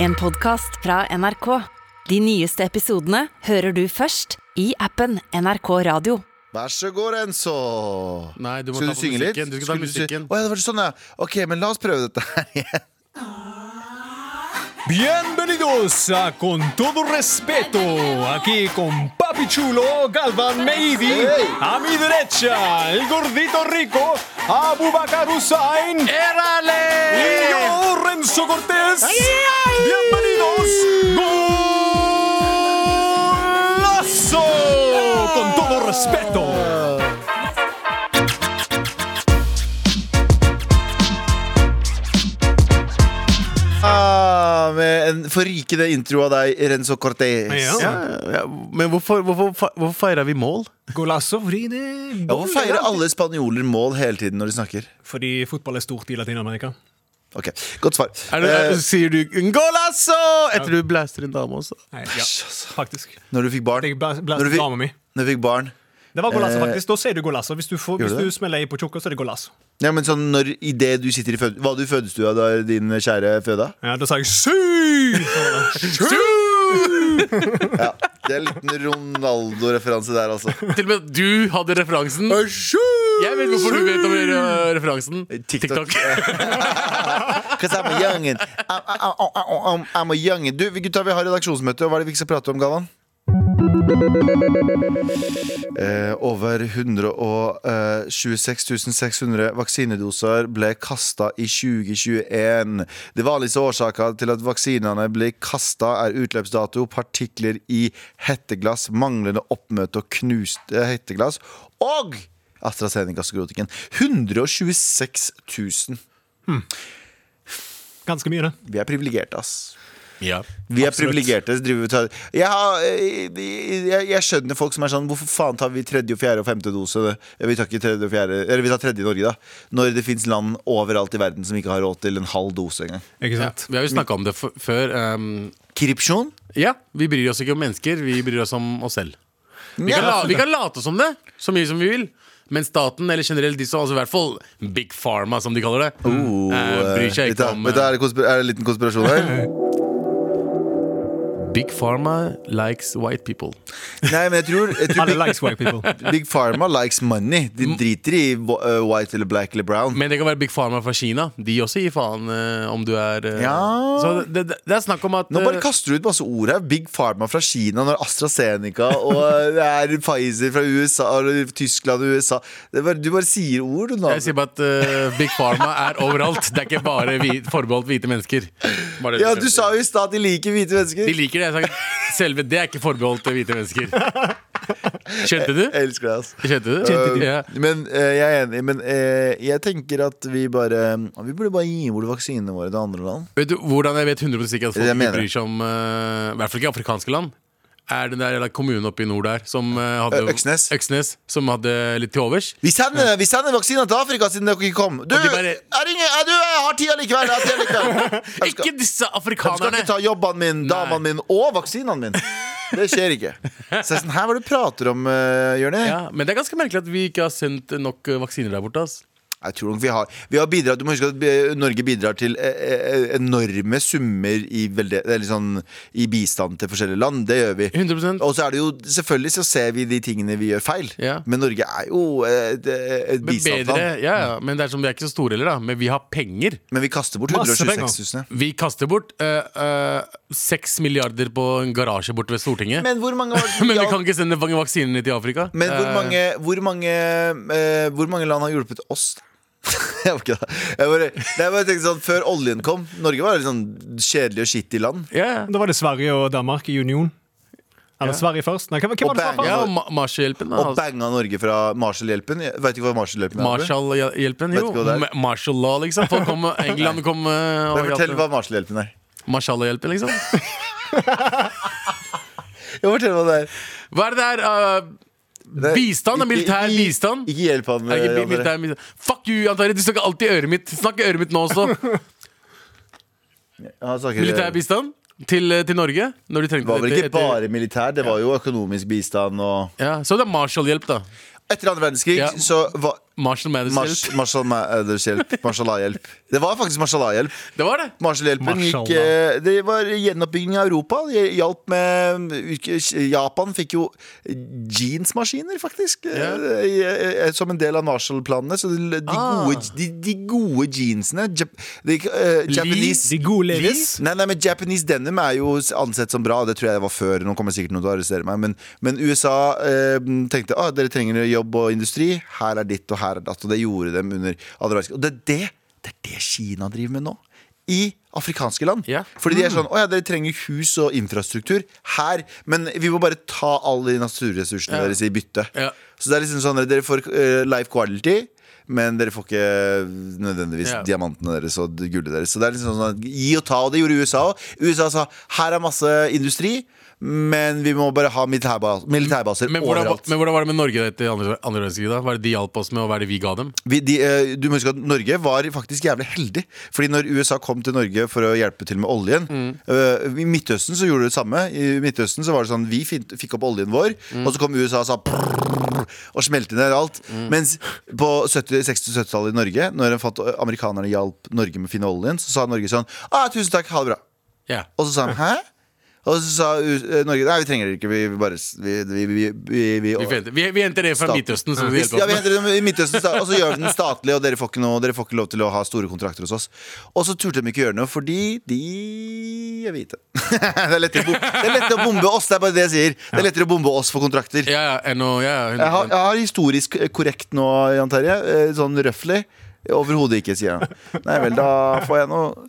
En podcast fra NRK. De nyeste episodene hører du først i appen NRK Radio. Vær så god, Renzo. Nei, du må Skal du ta på synge litt? musikken. Du skal ta sy- musikken. Å, ja, det var sånn, ja. Ok, men la oss prøve dette her igjen. Bienvenidos a Con todo respeto, aquí con Papi Chulo, Galvan Meidi, a mi derecha, el gordito rico, Abubakar Hussain, y yo, Renzo Cortés. Bienvenidos, golazo, con todo respeto. Ah, med en forrikende intro av deg, Renzo Cortez. Ja. Ja, ja, men hvorfor, hvorfor, fe- hvorfor feira vi mål? Golazo, frine, Ja, Hvorfor feirer alle spanjoler mål hele tiden når de snakker? Fordi fotball er stort i Latin-Amerika. Ok, Godt svar. Er det, Eh, sier du 'golasso' etter du blæster en dame også? Nei, ja, faktisk. når du fikk barn? Jeg blæ- Når blæste du fikk- dama mi. Når du fikk barn Det var golasso, Eh, faktisk. Da sier du golasso. Hvis du, får, hvis gjør du du det? smeller i på tjukka, så er det golasso. Ja, men sånn når, i det du sitter i fød... Var du i fødestua da din kjære føda? Ja, da sa jeg sy! Ja, Det er en liten Ronaldo-referanse der, altså. Til og med du hadde referansen. Jeg vet hvorfor du vet om re- referansen. TikTok. Cause I'm a youngin. I'm, I'm, I'm, I'm a youngin. Du, vi gutta, vi har redaksjonsmøte, og hva er det vi ikke skal prate om, Galvan? Eh, over eh, 126 600 vaksinedoser ble kasta i 2021. De vanligste årsakene til at vaksinene blir kasta, er utløpsdato, partikler i hetteglass, manglende oppmøte og knuste hetteglass, og AstraZeneca-skrotikken. 126 000. Ganske mye, det. Vi er privilegerte, ass. Ja. Vi er Absolutt. privilegerte. så driver vi og tar- Jeg, har- eh, jeg, jeg skjønner folk som er sånn Hvorfor faen tar vi tredje, og fjerde og femte dose? Eh, Vi tar, ikke tredje og fjerde, eller vi tar tredje i Norge, da. Når det fins land overalt i verden som ikke har råd til en halv dose engang. Ikke Ja, sant? vi har jo snakka om det f før. ehm, Korrupsjon? ja, Vi bryr oss ikke om mennesker, vi bryr oss om oss selv. Vi kan, la, vi kan late som det så mye som vi vil, men staten eller generelt de som altså i hvert fall Big Pharma, som de kaller det, Oh, eh, bryr seg vet du- ikke om vet du, er, det konspir- er det en liten konspirasjon her? eh, Big Pharma likes white people. Nei, men jeg tror, jeg tror Alle Big, likes white people. Big Pharma likes money. De driter i wh- uh, white eller black eller brown. Men det kan være Big Pharma fra Kina. De også gir faen eh, om du er eh, Ja. Så det, det, det er snakk om at Nå bare eh, kaster du ut masse ord her. Big Pharma fra Kina når AstraZeneca og det er Pfizer fra USA og Tyskland og USA. Det er bare, du bare sier ord, du nå. Jeg sier bare at eh, Big Pharma er overalt. Det er ikke bare hvit, forbeholdt hvite mennesker. Bare det Ja, skal du si. sa jo i stad at de liker hvite De mennesker. liker det. Jeg har sagt, selve det er ikke forbeholdt hvite mennesker. Skjønte du? Jeg elsker deg, altså. Skjønte du? Ja. Men eh, jeg er enig. Men eh, jeg tenker at vi bare eh, Vi burde bare gi bort vaksinene våre til andre land. Vet du hvordan jeg vet 100 sikkert at folk Jeg ikke mener det. bryr seg om eh, I hvert fall ikke afrikanske land. Er den der eller kommunen oppe i nord der som eh, hadde Ø- Øksnes. som hadde litt til overs? Vi sender, vi sender vaksiner til Afrika siden dere ikke kom. Du, Og de bare- jeg, ringer, jeg, du jeg har tida likevel! Jeg har tida likevel. Jeg skal, Ikke disse jeg skal afrikanerne! ikke ta jobbene min, damene min og vaksinene mine. Det skjer ikke. Så jeg er sånn, her hva du prater om, uh, Jørni. Ja, men det er ganske merkelig at vi ikke har sendt nok eh, vaksiner der borte. ass. Jeg tror nok vi har Vi har bidratt, Du må huske at eh, Norge bidrar til eh, eh, enorme summer i, velde, eller sånn, i bistand til forskjellige land. Det gjør vi. 100 Og så er det jo, selvfølgelig så ser vi de tingene vi gjør feil, Ja. men Norge er jo eh, et, et Men bedre, bistandsland. ja, ja. Men det er som vi er ikke så store heller, da. Men vi har penger. Men vi kaster bort Masse 126 penger. 000. ja. Vi kaster bort eh, seks milliarder på en garasje borte ved Stortinget. Men, Men hvor mange, vi kan ikke sende vak- vaksinene til Afrika. men hvor Eh, mange, hvor mange, eh, hvor mange land har hjulpet oss? Jeg var ikke det. Jeg bare, jeg bare tenkte sånn, Før oljen kom, Norge var et sånn kjedelig og skittig land. ja, ja. Da var det Sverige og Danmark i union. Eller Sverige først. Nei, hvem, hvem Og var det som Bang. var Ja, først? og Ma- Marshallhjelpen. da, Og altså. banga Norge fra Marshallhjelpen. Jeg Vet ikke hva Marshallhjelpen er. Marshallhjelpen, Vet jo. ikke hva det er. Ma- Marshall law, liksom. Folk kom, England kom eh, Men overalt. Fortell hva Marshallhjelpen er. Marshallhjelpen, liksom. Jo, fortell hva det er. Hva er det der? Det er- bistand er ikke- militær ikke- bistand. Ikke hjelp han. Er det ikke Jan bi- Tore. militær bistand? Fuck you, Jan Terje! Du snakker alltid i øret mitt. Snakk i øret mitt nå også. Han snakker- Militær bistand til, eh, til Norge når de Det trengte var Eh, vel det. ikke bare militær, det var jo økonomisk bistand og Ja, så det er Marshallhjelp, da. Etter andre verdenskrig Ja. så var Marshall Mathers Mars- hjelp. Marshall eh, Mathers hjelp. Marshall-hjelp. Det var faktisk Marshall-hjelp. Det var det. Marshallhjelpen gikk Marshall, eh, Det var gjenoppbygging av Europa. Det hjalp med Japan fikk jo jeansmaskiner, faktisk. Ja. eh, i- eh, Som en del av Marshall-planene. Så de, de, Ah. gode, de, de gode jeansene Jap, de, eh, Japanese De gode levis. Nei, nei, men Japanese denim er jo ansett som bra. Det tror jeg det var før. Nå kommer sikkert noen til å arrestere meg. Men, men USA eh, tenkte at ah, dere trenger jobb og industri. Her er ditt og her er datt. Og det gjorde dem under andre verdenskrig. Og det er det, det er det Kina driver med nå. I afrikanske land. Ja. Mm. Fordi de er sånn Å ja, dere trenger hus og infrastruktur her, men vi må bare ta alle de naturressursene Ja. deres i bytte. Ja. Så det er liksom sånn at dere får eh, life quality men dere får ikke nødvendigvis Ja. diamantene deres og det gullet deres. Så det er liksom sånn at Gi og ta, og det gjorde USA òg. USA sa her er masse industri, men vi må bare ha militærba- militærbaser Men hvordan, overalt. men hvordan var det med Norge etter andre, andre verdenskrig? da? Hva er det de hjalp oss med, og hva er det vi ga dem? vi, de, eh, du må huske at Norge var faktisk jævlig heldig. Fordi når USA kom til Norge for å hjelpe til med oljen eh, I Midtøsten så gjorde de det samme. I Midtøsten så var det sånn Vi fint, fikk opp oljen vår, og så kom USA og sa prrrr, og smelte ned alt. Mens på 70 60-70-tallet i Norge, når en fant, amerikanerne hjalp Norge med å finne oljen, så sa Norge sånn ah, 'Tusen takk, ha det bra'. Ja. Og så sa han 'hæ?' Og så sa eh, Norge 'nei, vi trenger dere ikke, vi bare Vi, vi, vi, vi, vi, Vi, henter, vi, vi henter det fra Staten. Midtøsten. Så de Hvis- hjelper Ja, vi oss henter med. dem i Midtøsten, sta- og så gjør vi den statlig, og dere får, ikke noe, dere får ikke lov til å ha store kontrakter hos oss. Og så turte de ikke gjøre noe, fordi de er hvite. det, er lettere å bo- det er lettere å bombe oss, det er bare det jeg sier. Det er lettere å bombe oss for kontrakter. Ja, ja, ennå, ja, ja, Jeg har, jeg har historisk eh, korrekt nå, Jan Terje. eh, Sånn røffelig. Overhodet ikke, sier han. Nei vel, da får jeg noe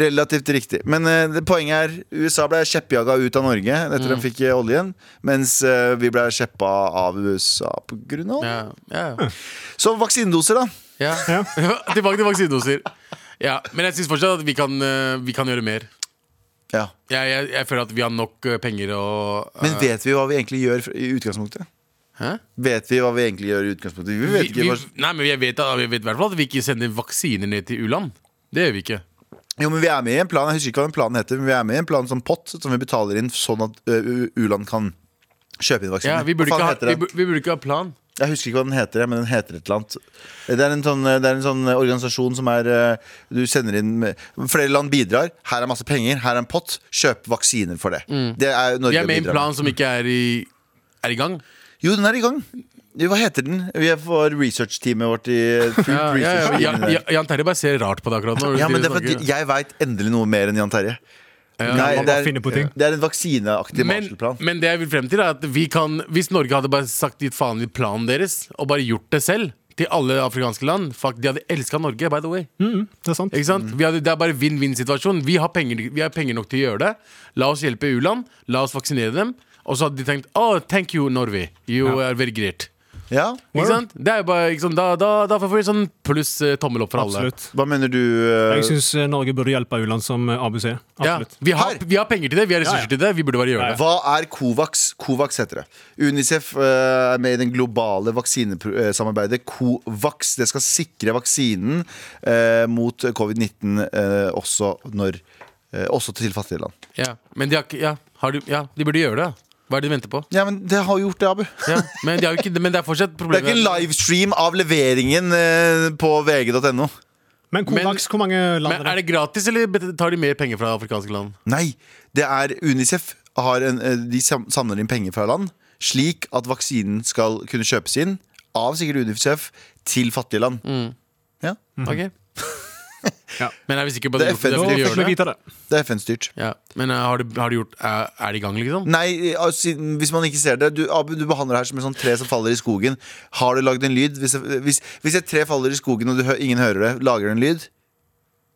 relativt riktig. Men eh, det- poenget er USA ble kjeppjaga ut av Norge etter Mm. de fikk eh, oljen, mens eh, vi ble kjeppa av USA på grunn av oljen. ja, ja, ja. Så vaksinedoser, da. Ja. Tilbake til vaksinedoser. Ja, men jeg syns fortsatt at vi kan, eh, vi kan gjøre mer. Ja. Jeg, jeg, jeg føler at vi har nok eh, penger og eh, Men vet vi hva vi egentlig gjør i utgangspunktet? Hæ? Vet vi hva vi egentlig gjør i utgangspunktet? Vi vet ikke vi, hva... vi, Nei, men jeg vet, at- jeg vet i hvert fall at vi ikke sender vaksiner ned til u-land. Det gjør vi ikke. Jo, men vi er med i en plan, jeg husker ikke hva den planen heter, men vi er med i en plan som pott, som vi betaler inn sånn at ø, u- U-land kan kjøpe inn vaksiner. Ja, vi, burde Hva ikke faen ha, heter vi, den? bur- vi burde ikke ha plan. Jeg husker ikke hva den heter, men den heter et eller annet. Det er en sånn, det er en sånn organisasjon som er eh, Du sender inn Flere land bidrar. Her er masse penger, her er en pott. Kjøp vaksiner for det. Det er Mm. Vi Norge er med i en bidrar plan som ikke er i, er i gang. Jo, den er i gang. Jo, Hva heter den? Vi er for researchteamet vårt i fullt Ja, ja, ja, ja, researchteamet der. ja, Jan Terje bare ser rart på det akkurat nå. Ja, men det er Snakker- fordi jeg veit endelig noe mer enn Jan Terje. Nei, man det, bare finner på er, ting. det er en vaksineaktig men, Marshall-plan. men det jeg vil frem til er at vi kan Hvis Norge hadde bare sagt gitt faen i planen deres Og bare gjort det selv til alle afrikanske land Fuck, de hadde elsket Norge, by the way Mm, det er sant. Ikke sant? Vi hadde, det er bare vinn-vinn-situasjon vi, har penger- vi har penger nok til å gjøre det La oss hjelpe u-land, la oss vaksinere dem Og så hadde de tenkt, oh, thank you Norway You are very great Ja? Ikke sant? Det er jo bare, ikke sant? Da, da, da får vi sånn pluss eh, tommel opp for alle Absolutt. Hva mener du? eh, Jeg syns Norge burde hjelpe u-land som eh, ABC. ja, Absolutt. vi, har, Her. vi har penger til det, vi har Ja, ressurser ja. til det Vi burde bare gjøre det Hva er Covax? Covax heter det. Unicef eh, er med i den globale vaksinesamarbeidet Covax. Det skal sikre vaksinen eh, mot covid-19 eh, også, når, eh, også til fattige land. ja. Men de, har, ikke- ja, har du, ja, de burde gjøre det Hva er det de venter på? Ja, men det har jo gjort det, Abu. Ja, men, det er jo ikke, men det er fortsatt Det er problemet ikke en livestream av leveringen eh, på vg.no. Men Kovacs, hvor mange land Men er det? Er det gratis, eller bet- tar de mer penger fra afrikanske land? Nei, det er Unicef har en, eh, De sam- samler inn penger fra land Slik at vaksinen skal kunne kjøpes inn Av sikkert Unicef Til fattige land ja, Ok Mhm. Ja. Men er vi sikre på Det at er FN. de Nå derfor de fikk vi gjør det? vite det. Det er FN-styrt Ja. Men eh, har, de, har de gjort Er, er de i gang, liksom? Nei, eh, altså, siden- hvis man ikke ser det du, Abu, du behandler det her som en sånn tre som faller i skogen Har du laget en lyd? Hvis, hvis, hvis et tre faller i skogen og du, hø- ingen hører det Lager du en lyd?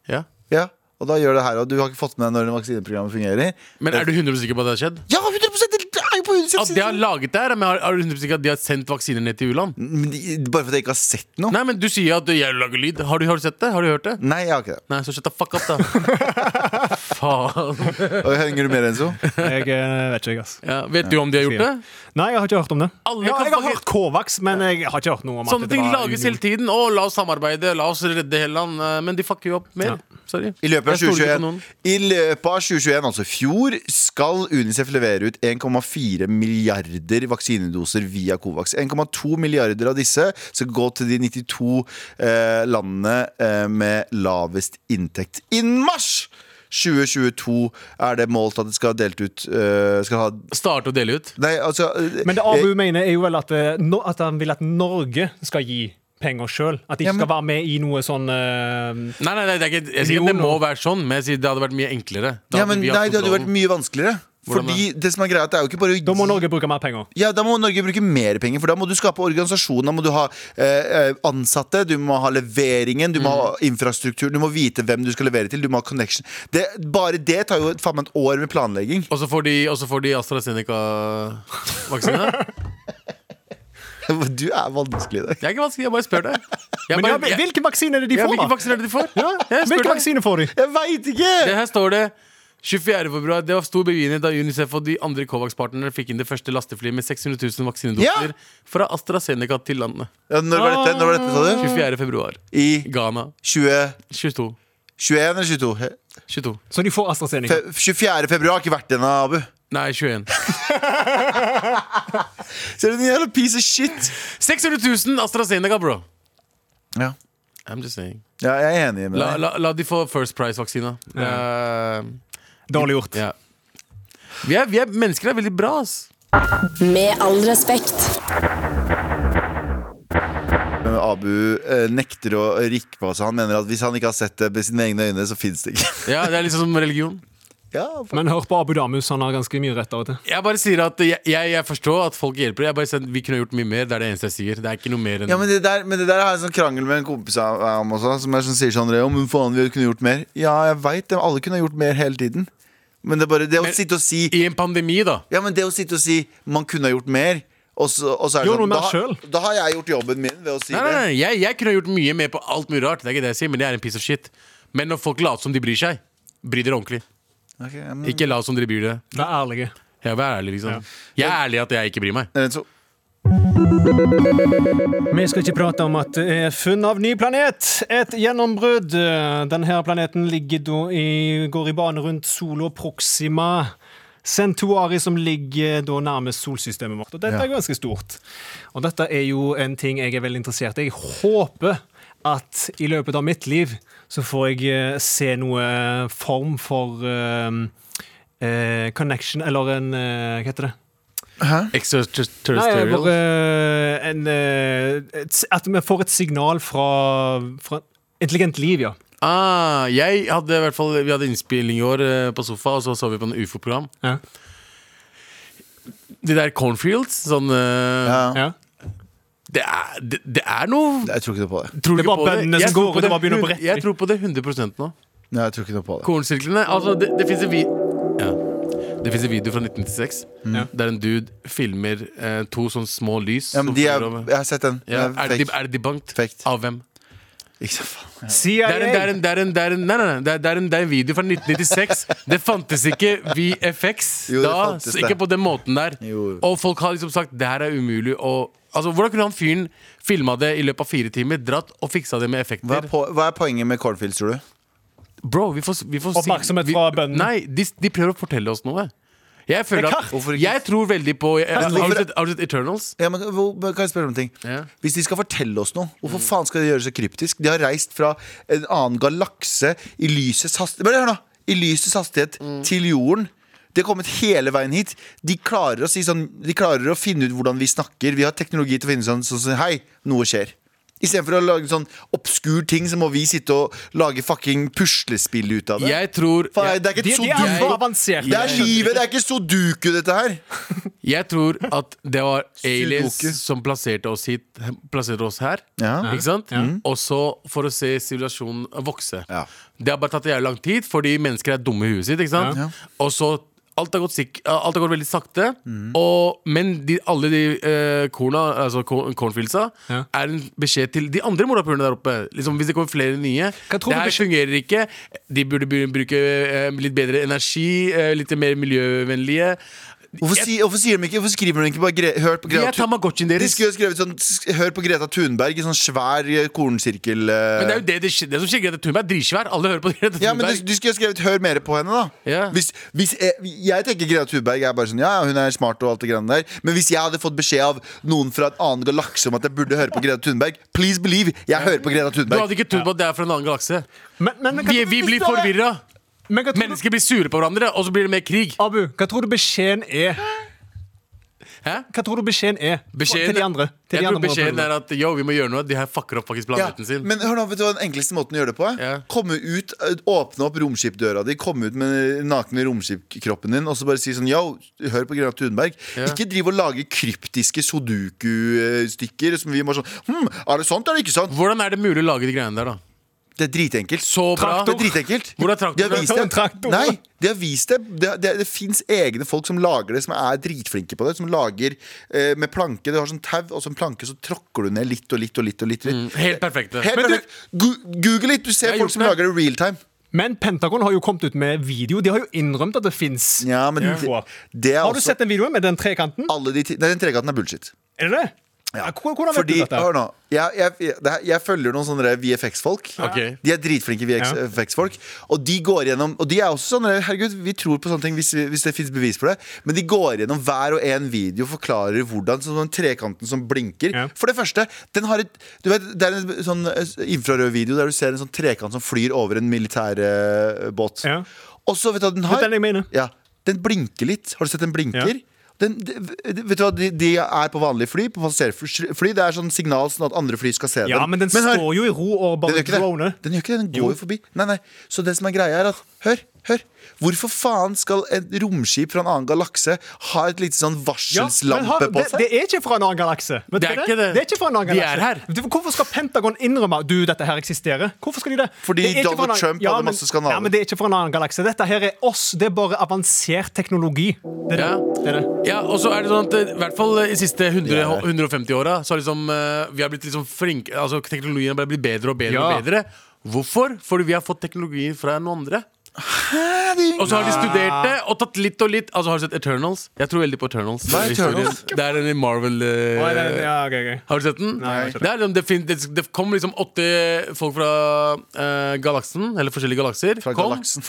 Ja. Ja, og da gjør det her Og du har ikke fått med deg når vaksineprogrammet fungerer Men er du 100 sikker på at det har skjedd? Ja, 100% det er jo på Unicef At de har laget det her? Men har, er du 100 sikker at de har sendt vaksiner ned til u-land? Men de- Bare for at jeg ikke har sett noe Nei, men du sier at jeg lager lyd. Har du, har du sett det? Har du hørt det? Nei, jeg har ikke det Nei, så shut the fuck up, da. faen. Og Henger du med, Renzo? Jeg eh, vet ikke, jeg, ass. Ja, vet du om de har gjort det? Nei, jeg har ikke hørt om det. Alle ja, kan Sånn jeg har fucking- hørt Kovacs, men jeg har ikke hørt noe om Sånne at det ting var lages hele tiden. Å, la oss samarbeide, la oss redde hele land. Eh, Men de fucker jo opp mer. Sorry. I løpet, av Jeg stoler ikke på 2021, noen. I løpet av 2021, altså i fjor, skal Unicef levere ut 1,4 milliarder vaksinedoser via Covax. 1,2 milliarder av disse skal gå til de 92 eh, landene eh, med lavest inntekt. Innen mars 2022 er det målt at det skal ha delt ut eh, skal ha, Starte å dele ut. Nei, altså eh, Men det Abu mener, er jo vel at, eh, no- at han vil at Norge skal gi penger sjøl. At de ikke Ja, men- skal være med i noe sånn eh, Nei, nei, nei, det er ikke, jeg sier ikke at det må være sånn, men jeg sier det hadde vært mye enklere. Da ja, men, vi hatt Nei, det hadde jo kontrollen. vært mye vanskeligere. Hvordan da? Fordi det som er greia, er at det er jo ikke bare å Da må Norge bruke mer penger. Ja, da må Norge bruke mer penger, for da må du skape organisasjon. Da må du ha eh, eh, ansatte, du må ha leveringen, du må ha Mm. infrastruktur, du må vite hvem du skal levere til, du må ha connection. Det, bare det tar jo faen meg et år med planlegging. Og så får de, og så får de AstraZeneca-vaksine. Du er vanskelig i dag. Det er ikke vanskelig, jeg bare spør deg. Jeg Men bare, ja, jeg, hvilken vaksine er det de ja, får, hvilke da? vaksiner er det de får? Ja, jeg spør hvilken deg. vaksine får de? Jeg veit ikke! Det her står det 24. februar, Det var stor begivenhet da Unicef og de andre Covax-partnerne fikk inn det første lasteflyet med 600 000 vaksinedoser Ja! fra AstraZeneca til landet. Ja, når var dette, når var dette sa du? 24. februar. I Ghana. 2021 22. eller 22? He- 22. Så de får AstraZeneca. fe- 24. februar har ikke vært ennå, Abu. Nei, 21. Ser du den jævla piece of shit? 600 000 AstraZeneca, bro! Ja, I'm just saying. ja jeg er enig med La, deg. la, la de få First Price-vaksina. Eh, Dårlig gjort. ja. vi, er- vi er mennesker er veldig bra, ass. Med all respekt. Men Abu eh, nekter å rikke på seg. Han mener at hvis han ikke har sett det med sine egne øyne, så fins det ikke. Ja, Det er liksom som religion. Ja, Men hør på Abu Damus, han har ganske mye rett av og til. Jeg bare sier at jeg, jeg, jeg forstår at folk hjelper. Jeg bare sier at Vi kunne gjort mye mer. Det er det eneste jeg sier. Det er ikke noe mer enn Ja, men det der, men det der er en sånn krangel med en kompis av av meg også, som, er, som sier sånn Om faen, vi kunne gjort mer. Ja, jeg veit det. Alle kunne gjort mer hele tiden. Men det er bare det å Men- sitte og si I en pandemi, da. Ja, men det å sitte og si man kunne ha gjort mer, og så, og så er det Gjør noe sånn med da, har- selv. da har jeg gjort jobben min ved å si Nei, nei, nei, jeg, jeg kunne gjort mye mer på alt mulig rart. Det er ikke det jeg sier, men jeg er en piece of shit. Men når folk later som de bryr seg, bry dere ordentlig. det. Ok, ja, men- Ikke lat som dere bryr dere. Vær ærlige. Jeg er ærlig, liksom. Jeg er ærlig at jeg ikke bryr meg. Renzo, Vi skal ikke prate om at det er funn av ny planet. Et gjennombrudd. Denne planeten ligger da i, går i bane rundt sola Proxima. Centauri, som ligger da nærmest solsystemet vårt. Og dette er ganske stort. Og dette er jo en ting jeg er veldig interessert i. Jeg håper at i løpet av mitt liv så får jeg eh, se noe form for eh, eh, connection, eller en eh, Hva heter det? Nei, jeg Extraterrestrial. bare en, eh, et, At vi får et signal fra, fra intelligent liv, ja. Ah, jeg hadde i hvert fall Vi hadde innspilling i år eh, på sofa, og så så vi på en ufo-program. Ja. De der cornfields, sånn eh, ja. ja. det, er, det, det er noe Jeg tror ikke noe på det. Tror du Det er ikke bare på det? bøndene Jeg som tror går, på og det bare begynner å hun- brette. Jeg tror på det 100 nå. Nei, jeg tror ikke noe på det. Kornsirklene. Altså, det, det fins en, vi ja. Det finnes en video fra 1996 Mm. Ja. der en dude filmer eh, to sånne små lys. Ja, men som de er, flyr over. jeg har sett den. ja, Den er, det, fake. er det debunked? Faked. Av hvem? Ikke så faen. CIA! Det er en, det er en, det er en, det er en, nei, nei, nei, det er, det er en, det er en video fra 1996. Det fantes ikke VFX Jo, det da. fantes så det. Ikke på den måten der. Jo. Og folk har liksom sagt det her er umulig å Altså, Hvordan kunne han fyren filma det i løpet av fire timer, dratt og fiksa det med effekter? Hva er, på, hva er poenget med cornfields, tror du? Bro, vi får, vi får si- Oppmerksomhet vi- fra bøndene. Nei, de, de prøver å fortelle oss noe. Jeg føler Det er at kart. Hvorfor ikke? Jeg tror veldig på jeg, har, Hvorfor- du sett, har du sett Eternals? Ja, men hvor- men Kan jeg spørre om en ting? Ja. Hvis de skal fortelle oss noe, hvorfor faen skal de gjøre det så kryptisk? De har reist fra en annen galakse i lysets hastighet Bare hør nå! I lysets hastighet til jorden. De har kommet hele veien hit. De klarer, å si sånn, de klarer å finne ut hvordan vi snakker. Vi har teknologi til å finne sånn, sånn, sånn Hei, noe skjer. Istedenfor å lage sånn obskur ting, så må vi sitte og lage fucking puslespill ut av det. Jeg tror faen, jeg, det er ikke de, et de er for sudoku. avanserte. Det er livet, det er ikke sudoku, dette her. jeg tror at det var aliens Sudoku. som plasserte oss hit. Plasserte oss her. Ja. Ikke sant? Mm. Og så for å se sivilisasjonen vokse. Ja. Det har bare tatt jævlig lang tid, fordi mennesker er dumme i huet sitt. Ikke sant? Ja. Og så Alt har gått, sikk, alt har gått veldig sakte, Mm. og, men de, alle de eh, korna, altså corn- cornfieldsa, Ja. er en beskjed til de andre morapulene der oppe. Liksom, hvis det kommer flere nye. Hva tror Det du her beskjed- fungerer ikke. De burde be- bruke eh, litt bedre energi, eh, litt mer miljøvennlige. Hvorfor, si, hvorfor sier de ikke, hvorfor skriver de ikke bare gre Hør på De Greta er Thun- Tamagotchien De deres. skulle jo skrevet sånn sk- Hør på Greta Thunberg i sånn svær eh, kornsirkel eh. Men det er jo det, det, skje- det som skjer. Greta Thunberg er dritsvær. Alle hører på Greta Thunberg. Ja, men du, du skulle ha skrevet 'hør mer på henne', da. Ja. Hvis, hvis jeg, jeg tenker Greta Thunberg er bare sånn Ja, ja, hun er smart og alt det greiene der. Men hvis jeg hadde fått beskjed av noen fra et annet galakse om at jeg burde høre på Greta Thunberg, please believe, jeg hører på Greta Du Thunberg. hadde ikke trodd på at det er fra en annen galakse. Men, men, men Vi, hva tror vi du hvis blir det er- forvirra. Men hva tror du- Mennesker blir sure på hverandre, og så blir det mer krig. Abu, hva tror du beskjeden er? Hæ? Hva tror du beskjeden er Beskjeden, til de andre? Til de jeg andre tror beskjeden er morapulene? at yo, vi må gjøre noe. De her fucker opp faktisk Ja, planeten sin. men hør nå, vet du hva den enkleste måten å gjøre det på? er? Ja. Komme ut, ø, Åpne opp romskipdøra di, komme ut med den nakne romskipkroppen din og så bare si sånn Yo, hør på Greta Thunberg. Ja. Ikke driv og lage kryptiske sudoku-stykker som vi må sånn Hm, er det sant eller ikke sant? Hvordan er det mulig å lage de greiene der, da? Det er dritenkelt. Så bra. Det er dritenkelt. Hvor er traktor? De har vist det. En traktor. Nei, de har vist det. Det, det, det fins egne folk som lager det, som er dritflinke på det. Som lager eh, med planke. Du har sånn tau, og som planke så tråkker du ned litt og litt og litt. og litt, litt. Helt perfekte. Helt Men du- perfekt. Gu- Google litt. Du Jeg ser har folk gjort som det. lager det real time. Men Pentagon har jo kommet ut med video. De har jo innrømt at det fins. Ja, men det, det er Har du også sett den videoen med den trekanten? alle de ti- Nei, den trekanten er bullshit. Er det det? Ja, hvor- Hvordan vet Fordi, du dette? hør nå Jeg, jeg, jeg, det her- jeg følger noen sånne der VFX-folk Ok. De er dritflinke VFX-folk Og de går gjennom Og de er også sånne der, Herregud, vi tror på sånne ting hvis, vi- hvis det finnes bevis for det Men de går gjennom hver og en video og Forklarer hvordan sånn, den trekanten som blinker Ja. For det første den har et, du vet, Det er en sånn eh, infrarød video Der du ser en sånn trekant som flyr over en militær eh, båt Ja. Og så vet du hva den Det har er den jeg mener. ja, den blinker litt. Har du sett den blinker? Ja. Den, de, de- vet du hva, de, de er på vanlige fly, på passasjerfly. Det er sånn signal sånn at andre fly skal se dem. Ja, men den hør, står jo i ro den og bare gjør ikke det. droner. Den gjør ikke det, den går jo forbi. Nei, nei. Så det som er greia, er at Hør, hør. Hvorfor faen skal et romskip fra en annen galakse ha et lite sånn Ja, men har- varselslampe på det, seg? det er ikke fra en annen galakse. Vet du Det er hva ikke det. det er ikke fra en annen De galakse. er her. Du, Hvorfor skal Pentagon innrømme du, dette her eksisterer? Hvorfor skal de det? Fordi det er ikke fra en Donald annen- Trump hadde masse skandaler. Ja, men det er ikke fra en annen galakse. Dette her er oss. Det er bare avansert teknologi. Det er det. Ja. det, er det. Ja, og så er det sånn at eh, i hvert fall i siste 100, Ja. 150 åra så har liksom eh, vi har blitt liksom flinke Altså teknologien har bare blitt bedre og bedre Ja. og bedre. Hvorfor? Fordi vi har fått teknologien fra noen andre. Og så har de studert det og tatt litt og litt. Altså Har du sett Eternals? Jeg tror veldig på Eternals. Hva er Eternals? Det er en i Marvel eh, Oi, det- ja, ok, ok. Har du sett den? Nei, jeg har ikke det, er, liksom- det, fin- det, det kom liksom åtte folk fra eh, galaksen, eller forskjellige galakser. Fra kom. galaksen.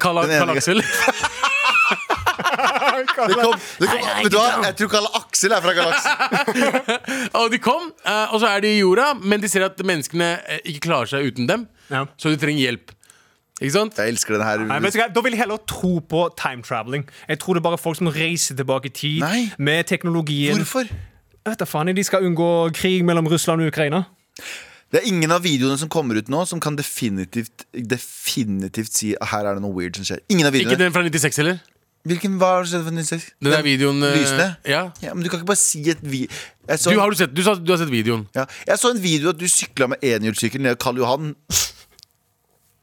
Kala, Den ene Karl Aksel. Det kom, det kom, vet du hva? Jeg tror Kalle Aksel er fra galaksen. og de kom, eh, og så er de i jorda, men de ser at menneskene eh, ikke klarer seg uten dem. Ja. Så de trenger hjelp. Ikke sant? Jeg elsker den her. Nei, vet du hva? Da vil jeg heller tro på time traveling. Jeg tror det er bare folk som reiser tilbake i tid Nei. med teknologien. Hvorfor? Jeg vet da faen, De skal unngå krig mellom Russland og Ukraina. Det er ingen av videoene som kommer ut nå, som kan definitivt, definitivt si at her er det noe weird som skjer. Ingen av Ikke videoene. den fra 96 heller. Hvilken var det som skjedde for 96? Den der videoen eh, Lysene? Ja. Ja, men du kan ikke bare si et vi... Jeg så, Du har, du, sett, du, sa- du har sett videoen. ja, jeg så en video at du sykla med enhjulssykkel ned Karl Johan.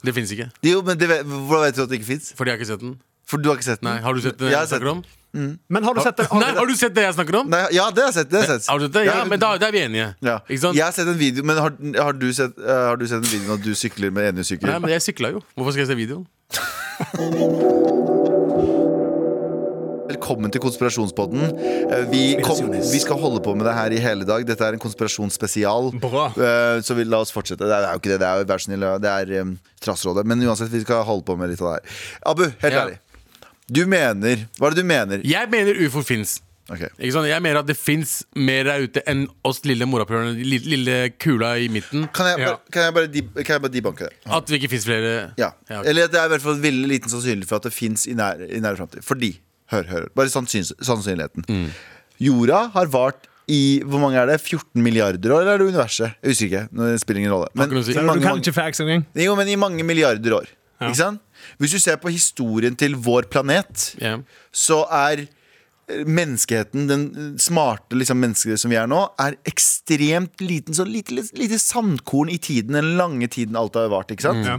Det fins ikke. Det, er jo, men det, vet- hvordan vet du at det ikke fins? Fordi jeg har ikke sett den. For du har ikke sett den. Nei, Har du sett den? Jeg har sett jeg snakker om? Men har du sett det? Nei, har du sett det jeg snakker om? Nei, ja, det har jeg sett. Det har jeg sett. Har du sett det? Ja, Jeg- men da, da er vi enige. ja. Ikke sant? Jeg har sett en video, men har, har, du sett, eh, har du sett en video når du sykler med enhjulssykkel? Nei, men jeg sykla jo. Hvorfor skal jeg se videoen? Velkommen til konspirasjonspodden. Eh, Vi, kom, vi skal holde på med det her i hele dag. Dette er en konspirasjonsspesial. Bra. Eh, Så vi, la oss fortsette. Det er det er jo ikke det, det er jo vær så snill, det er em, Trassrådet. Men uansett, vi skal holde på med litt av det her. Abu, helt Ja. ærlig. Du mener Hva er det du mener? Jeg mener ufo fins. Ok. Ikke sant? Jeg mener at det fins mer der ute enn oss lille morapulerne, lille, lille kula i midten. Kan jeg, Ja. bare, kan, jeg bare de, kan jeg bare debanke det? At det ikke fins flere Ja. ok. Eller at det er i hvert fall veldig liten sannsynlighet for at det fins i nær, i nær framtid. Fordi Hør, hør. Bare sannsyn, sannsynligheten. Mm. Jorda har vart i hvor mange er det? 14 milliarder år, eller er det universet? Jeg husker ikke. nå spiller ingen rolle. Men, ikke noe å si. i Du mange, kan mange, ikke facts engang. jo, men i mange milliarder år. Ikke sant? Hvis du ser på historien til vår planet, Ja. så er eh, menneskeheten, den smarte liksom, mennesket som vi er nå, er ekstremt liten. Så lite, lite sandkorn i tiden, den lange tiden alt har vart. ikke sant?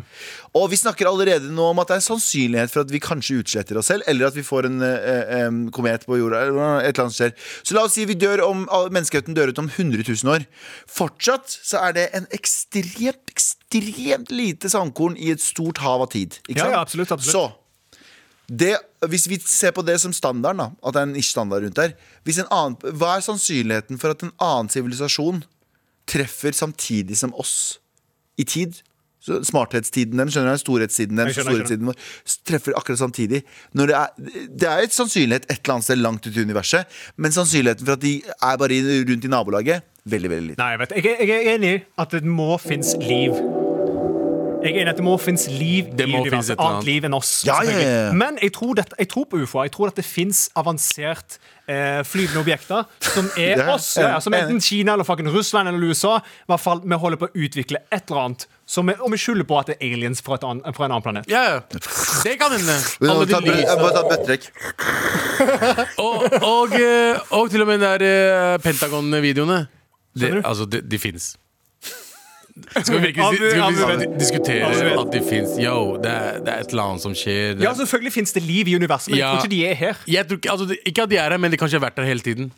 Og vi snakker allerede nå om at det er sannsynlighet for at vi kanskje utsletter oss selv, eller at vi får en eh, eh, komet på jorda, eller et eller annet skjer. Så la oss si vi dør om, all- menneskeheten dør ut om 100 000 år. Fortsatt så er det en ekstremt, ekstremt lite sandkorn i et stort hav av tid. Ikke Ja, sant? ja, absolutt, absolutt. Så det, hvis vi ser på det som standarden, da, at det er en ikke-standard rundt der hvis en annen, Hva er sannsynligheten for at en annen sivilisasjon treffer samtidig som oss i tid? Så smarthetstiden deres, skjønner du, storhetstiden deres, Jeg skjønner, jeg storhetstiden vår, s- treffer akkurat samtidig. Når det, er, det er et sannsynlighet et eller annet sted langt ute i universet, men sannsynligheten for at de er bare i- rundt i nabolaget, veldig, veldig liten. Nei, jeg vet Jeg, er- jeg er enig i at det må finnes liv. Jeg er enig i at det må finnes liv Det i må finnes et universet. eller Annet annet. liv enn oss. Ja, ja, ja, ja. selvfølgelig. Men jeg tror, dette- jeg tror på ufoer. Jeg tror at det finnes avansert eh, flyvende objekter som er Ja, oss. Ja, ja, enig, som enten enig. Kina eller fucking Russland eller USA. I hvert fall, Vi holder på å utvikle et eller annet. Som vi, og vi skylder på at det er aliens fra, et annet, fra en annen planet. Ja, ja. Det kan hende. Vi må Alle de ta, bø- lys- jeg må ta bøttetrekk. og, og, eh, og til og med der eh, Pentagon-videoene. Det, Skjønner du? altså, de, de fins. Skal vi virkelig Abu- dis- skal vi Abu dis- vet- diskutere Abu vet. at de fins? Yo, det er, det er et eller annet som skjer. Det- Ja, altså- selvfølgelig finnes det liv i universet, men jeg Ja. tror ikke de er her. Jeg tror, ikke- altså, det- ikke at de er her, men de kanskje har vært der hele tiden.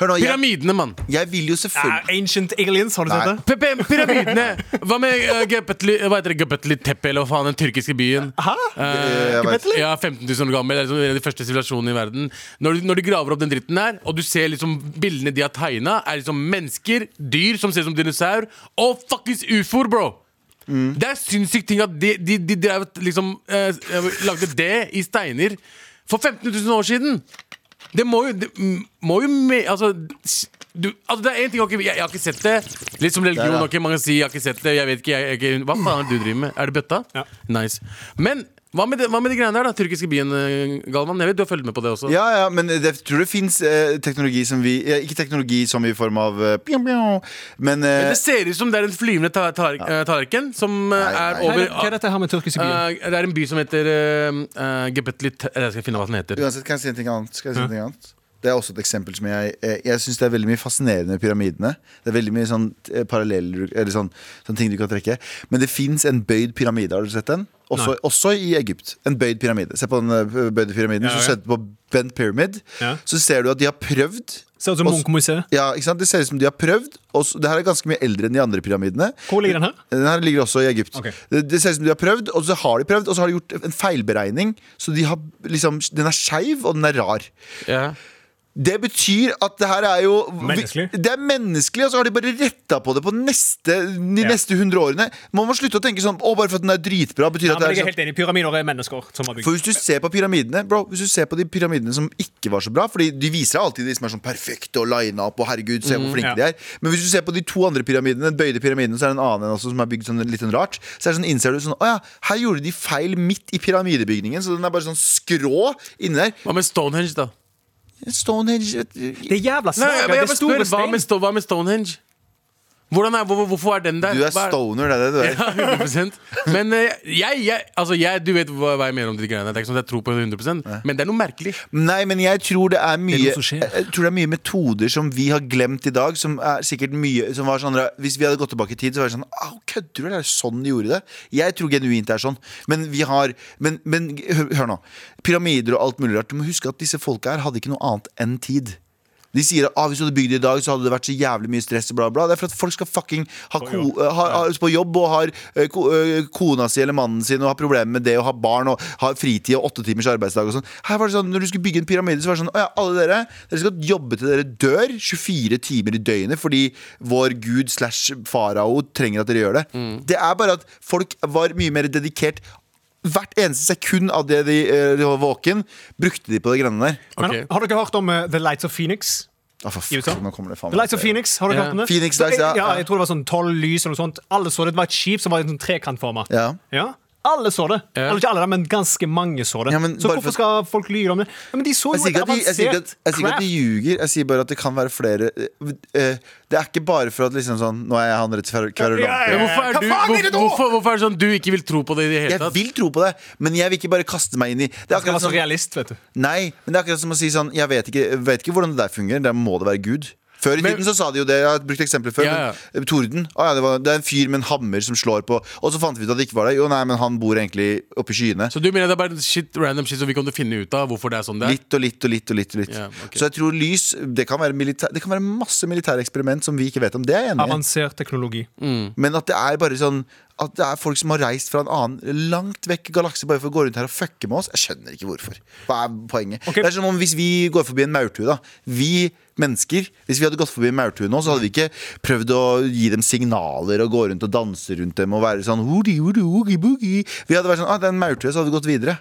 Hør nå, jeg, Pyramidene, mann! jeg vil jo Ja, selvfølgelig Ah, ancient aliens, har du sett Nei. det? P- p- Pyramidene! Hva med uh, Göbekli hva heter det, Göbekli Tepe, eller hva faen, den tyrkiske byen? Hæ? Eh, Jeg vet. Göbekli? ja, 15 000 år gammel. Det er liksom en av de første sivilisasjonene i verden. Når de, når de graver opp den dritten der, og du ser liksom bildene de har tegna, er liksom mennesker, dyr som ser ut som dinosaur, og fuckings ufoer, bro! Det er sinnssykt ting at de, de, de drev et liksom eh, lagde det i steiner for 15 000 år siden! Det må jo, det m- må jo me- altså, s- du, altså, det er én ting ok, jeg, jeg har ikke sett det. Litt som religion. Der, ja. ok, Mange sier 'jeg har ikke sett det'. Jeg vet ikke, jeg, jeg, Hva faen er det du driver med? Er det bøtta? Ja. Nice. Men hva med, det, hva med de greiene der, da? Tyrkiske byen, eh, Galvan? Jeg vet du har fulgt med på det også. Ja, ja, men det, jeg tror det fins eh, teknologi som vi eh, Ikke teknologi som i form av eh, pjong, pjong, men eh, Men Det ser ut som det er en flyvende ta- tar- eh, tallerken som eh, er nei. Hva er over det- hva er dette her med tyrkiske byer? Eh, det er en by som heter uh, Gebetli Te- Jeg skal finne hva den heter. Uansett, kan jeg si en ting annet? Skal jeg si en ting annet? Det er også et eksempel som jeg eh, Jeg syns det er veldig mye fascinerende med pyramidene. Det er veldig mye sånn eh, paralleller Eller sånn, sånn ting du kan trekke. Men det fins en bøyd pyramide. Har du sett den? Også, også i Egypt. En bøyd pyramide. Se på den eh, bøyde pyramiden. Ja, Hvis du ja. setter på Bent Pyramid, Ja. så ser du at de har prøvd Ser ut som og- Munch-museet. ja, ikke sant? Det ser ut som de har prøvd. Og så- det her er ganske mye eldre enn de andre pyramidene. Hvor ligger den her? Den her ligger også i Egypt. Ok. Det, det ser ut som de har prøvd, og så har de prøvd, og så har de gjort en feilberegning. Så de har, liksom, den er skeiv, og den er rar. Ja. Det betyr at det her er jo Menneskelig. Vi, det er menneskelig, og så har de bare retta på det på neste, de Ja. neste hundre årene. Man må slutte å tenke sånn Å, bare for at den er dritbra, betyr Ja, at men det er jeg er helt enig. Pyramider er mennesker som har bygd. for hvis du ser på pyramidene Bro, hvis du ser på de pyramidene som ikke var så bra Fordi de viser deg alltid de som er sånn perfekte Og line up og herregud, se hvor flinke ja. de er Men hvis du ser på de to andre pyramidene Den bøyde pyramiden, så er det en annen en også som er bygd sånn litt sånn rart Så er det sånn, innser du sånn Åja, her gjorde de feil midt i pyramidebygningen Så den er bare sånn skrå inni der Hva med Stonehenge, da? Stonehenge Det er jævla Nei, slager. jeg, Det jeg, er bare store spør, hva, med, stein. Sto- hva med Stonehenge? Hvordan er, hvor, hvor- hvorfor er den der? Du er Hva stoner, det er det du er Ja, 100% Men eh, jeg, jeg, altså jeg, du vet hva, hva jeg mener om de greiene. Det er ikke sånn at jeg tror på det 100% Men det er noe merkelig. Nei, men jeg tror det er mye Det er noe som skjer. Jeg tror det er mye metoder som vi har glemt i dag Som er sikkert mye som var sånn, Hvis vi hadde gått tilbake i tid, så var det sånn Au, kødder du? Det er sånn de gjorde det Jeg tror genuint det er sånn Men vi har Men, men hør, hør nå Pyramider og alt mulig rart Du må huske at disse folka her hadde ikke noe annet enn tid de sier at ah, hvis du hadde bygd det i dag, så hadde det vært så jævlig mye stress. og Bla, bla. Det er for at folk skal fucking ha ko ha, ha, på jobb og har eh, ko eh, kona si eller mannen sin og har problemer med det og har barn og har fritid og åtte timers arbeidsdag og sånn. Her var det sånn, Når du skulle bygge en pyramide, så var det sånn Å ja, alle dere, dere skal jobbe til dere dør 24 timer i døgnet fordi vår gud slash farao trenger at dere gjør det. Det er bare at folk var mye mer dedikert. Hvert eneste sekund av det de, eh, de var våken, brukte de på de greiene der. Men Ok. Har dere hørt om eh, The Lights of Phoenix? Ah, for I fuck, USA? nå kommer det faen The meg Lights of Phoenix, har dere Ja. hørt om det? Phoenix Lights, ja. Jeg, jeg tror det var sånn tolv lys eller noe sånt. Alle så det. Det var et skip som var i en sånn trekantforma. Ja. Ja. Alle så det. Ja. Eller ikke alle, da, men ganske mange så det. Ja, men så bare hvorfor for- skal folk lyve om det? Ja, men de så Jeg jo sier et ikke at de, jeg sier ikke at, avansert jeg sier ikke at de craft. ljuger, jeg sier bare at det kan være flere eh, eh, Det er ikke bare for at liksom sånn Nå er jeg han rett Ja, Men kverulanten. hvorfor, er Hva du, faen hvor, er det nå? hvorfor, hvorfor er det sånn du ikke vil tro på det i det hele Jeg tatt? vil tro på det, men jeg vil ikke bare kaste meg inn i Det er Han akkurat var så som, realist, vet du. nei, men det er akkurat som å si sånn Jeg vet ikke, vet ikke hvordan det der fungerer, der må det være Gud. Før i Men- tiden så sa de jo det. Jeg har brukt eksempler før. Ja, Men, eh, torden. Å ja, det, var, det er en fyr med en hammer som slår på Og så fant vi ut at det ikke var det. Jo, nei, men han bor egentlig oppi skyene. Så du mener det er bare shit, random shit som vi kommer til å finne ut av hvorfor det er sånn det er? Litt og litt og litt. og litt, og litt. Ja, ok. Så jeg tror lys Det kan være, militær, det kan være masse militære eksperiment som vi ikke vet om. Det er jeg enig i. Avansert teknologi. Mm. Men at det er bare sånn At det er folk som har reist fra en annen langt vekk galakse bare for å gå rundt her og fucke med oss. Jeg skjønner ikke hvorfor. Hva er poenget? Ok. Det er som om hvis vi går forbi en maurtue, da. Vi mennesker, hvis vi hadde gått forbi en maurtue nå, så hadde vi ikke prøvd å gi dem signaler og gå rundt og danse rundt dem og være sånn "Woody, woody, woogie, boogie." Vi hadde vært sånn ah, det er en maurtue, så hadde vi gått videre.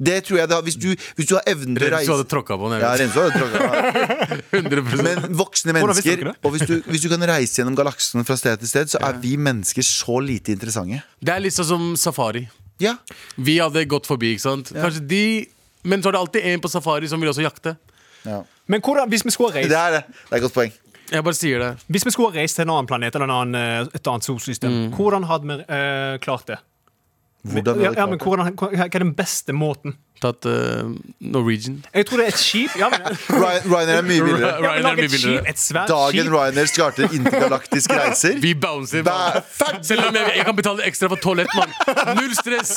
Det tror jeg det har, hvis, du, hvis du har evnen til å Renzo reise hadde tråkka på den. ja, jeg vet. Renzo hadde tråkket meg. 100% Men voksne Mm. Hvordan visste mennesker dere det? Og hvis du, hvis du kan reise gjennom galaksen fra sted til sted Så er vi mennesker så lite interessante Det er litt sånn som safari. Ja, Vi hadde gått forbi, ikke sant? Kanskje de Men så er det alltid en på safari som vil også jakte. Men hvordan, hvis vi skulle ha det reist er det Det er et godt poeng Jeg bare sier det. Hvis vi skulle ha reist til en annen planet eller en annen, eh, et annet solsystem, Mm. hvordan hadde vi eh, klart det? Hvordan ja, hadde ja, vi men klart det? hvordan, hva er den beste måten? Tatt eh, Norwegian. Jeg tror det er et skip. Ja, men, Ryan- Ryanair er mye billigere Ryanair ja, men lag blir et billigere. skip, et svært Dagen skip. Ryanair starter intergalaktisk reiser Vi bouncer. Da- mann. Selv om jeg, jeg kan betale ekstra for toalett, mann. Null stress.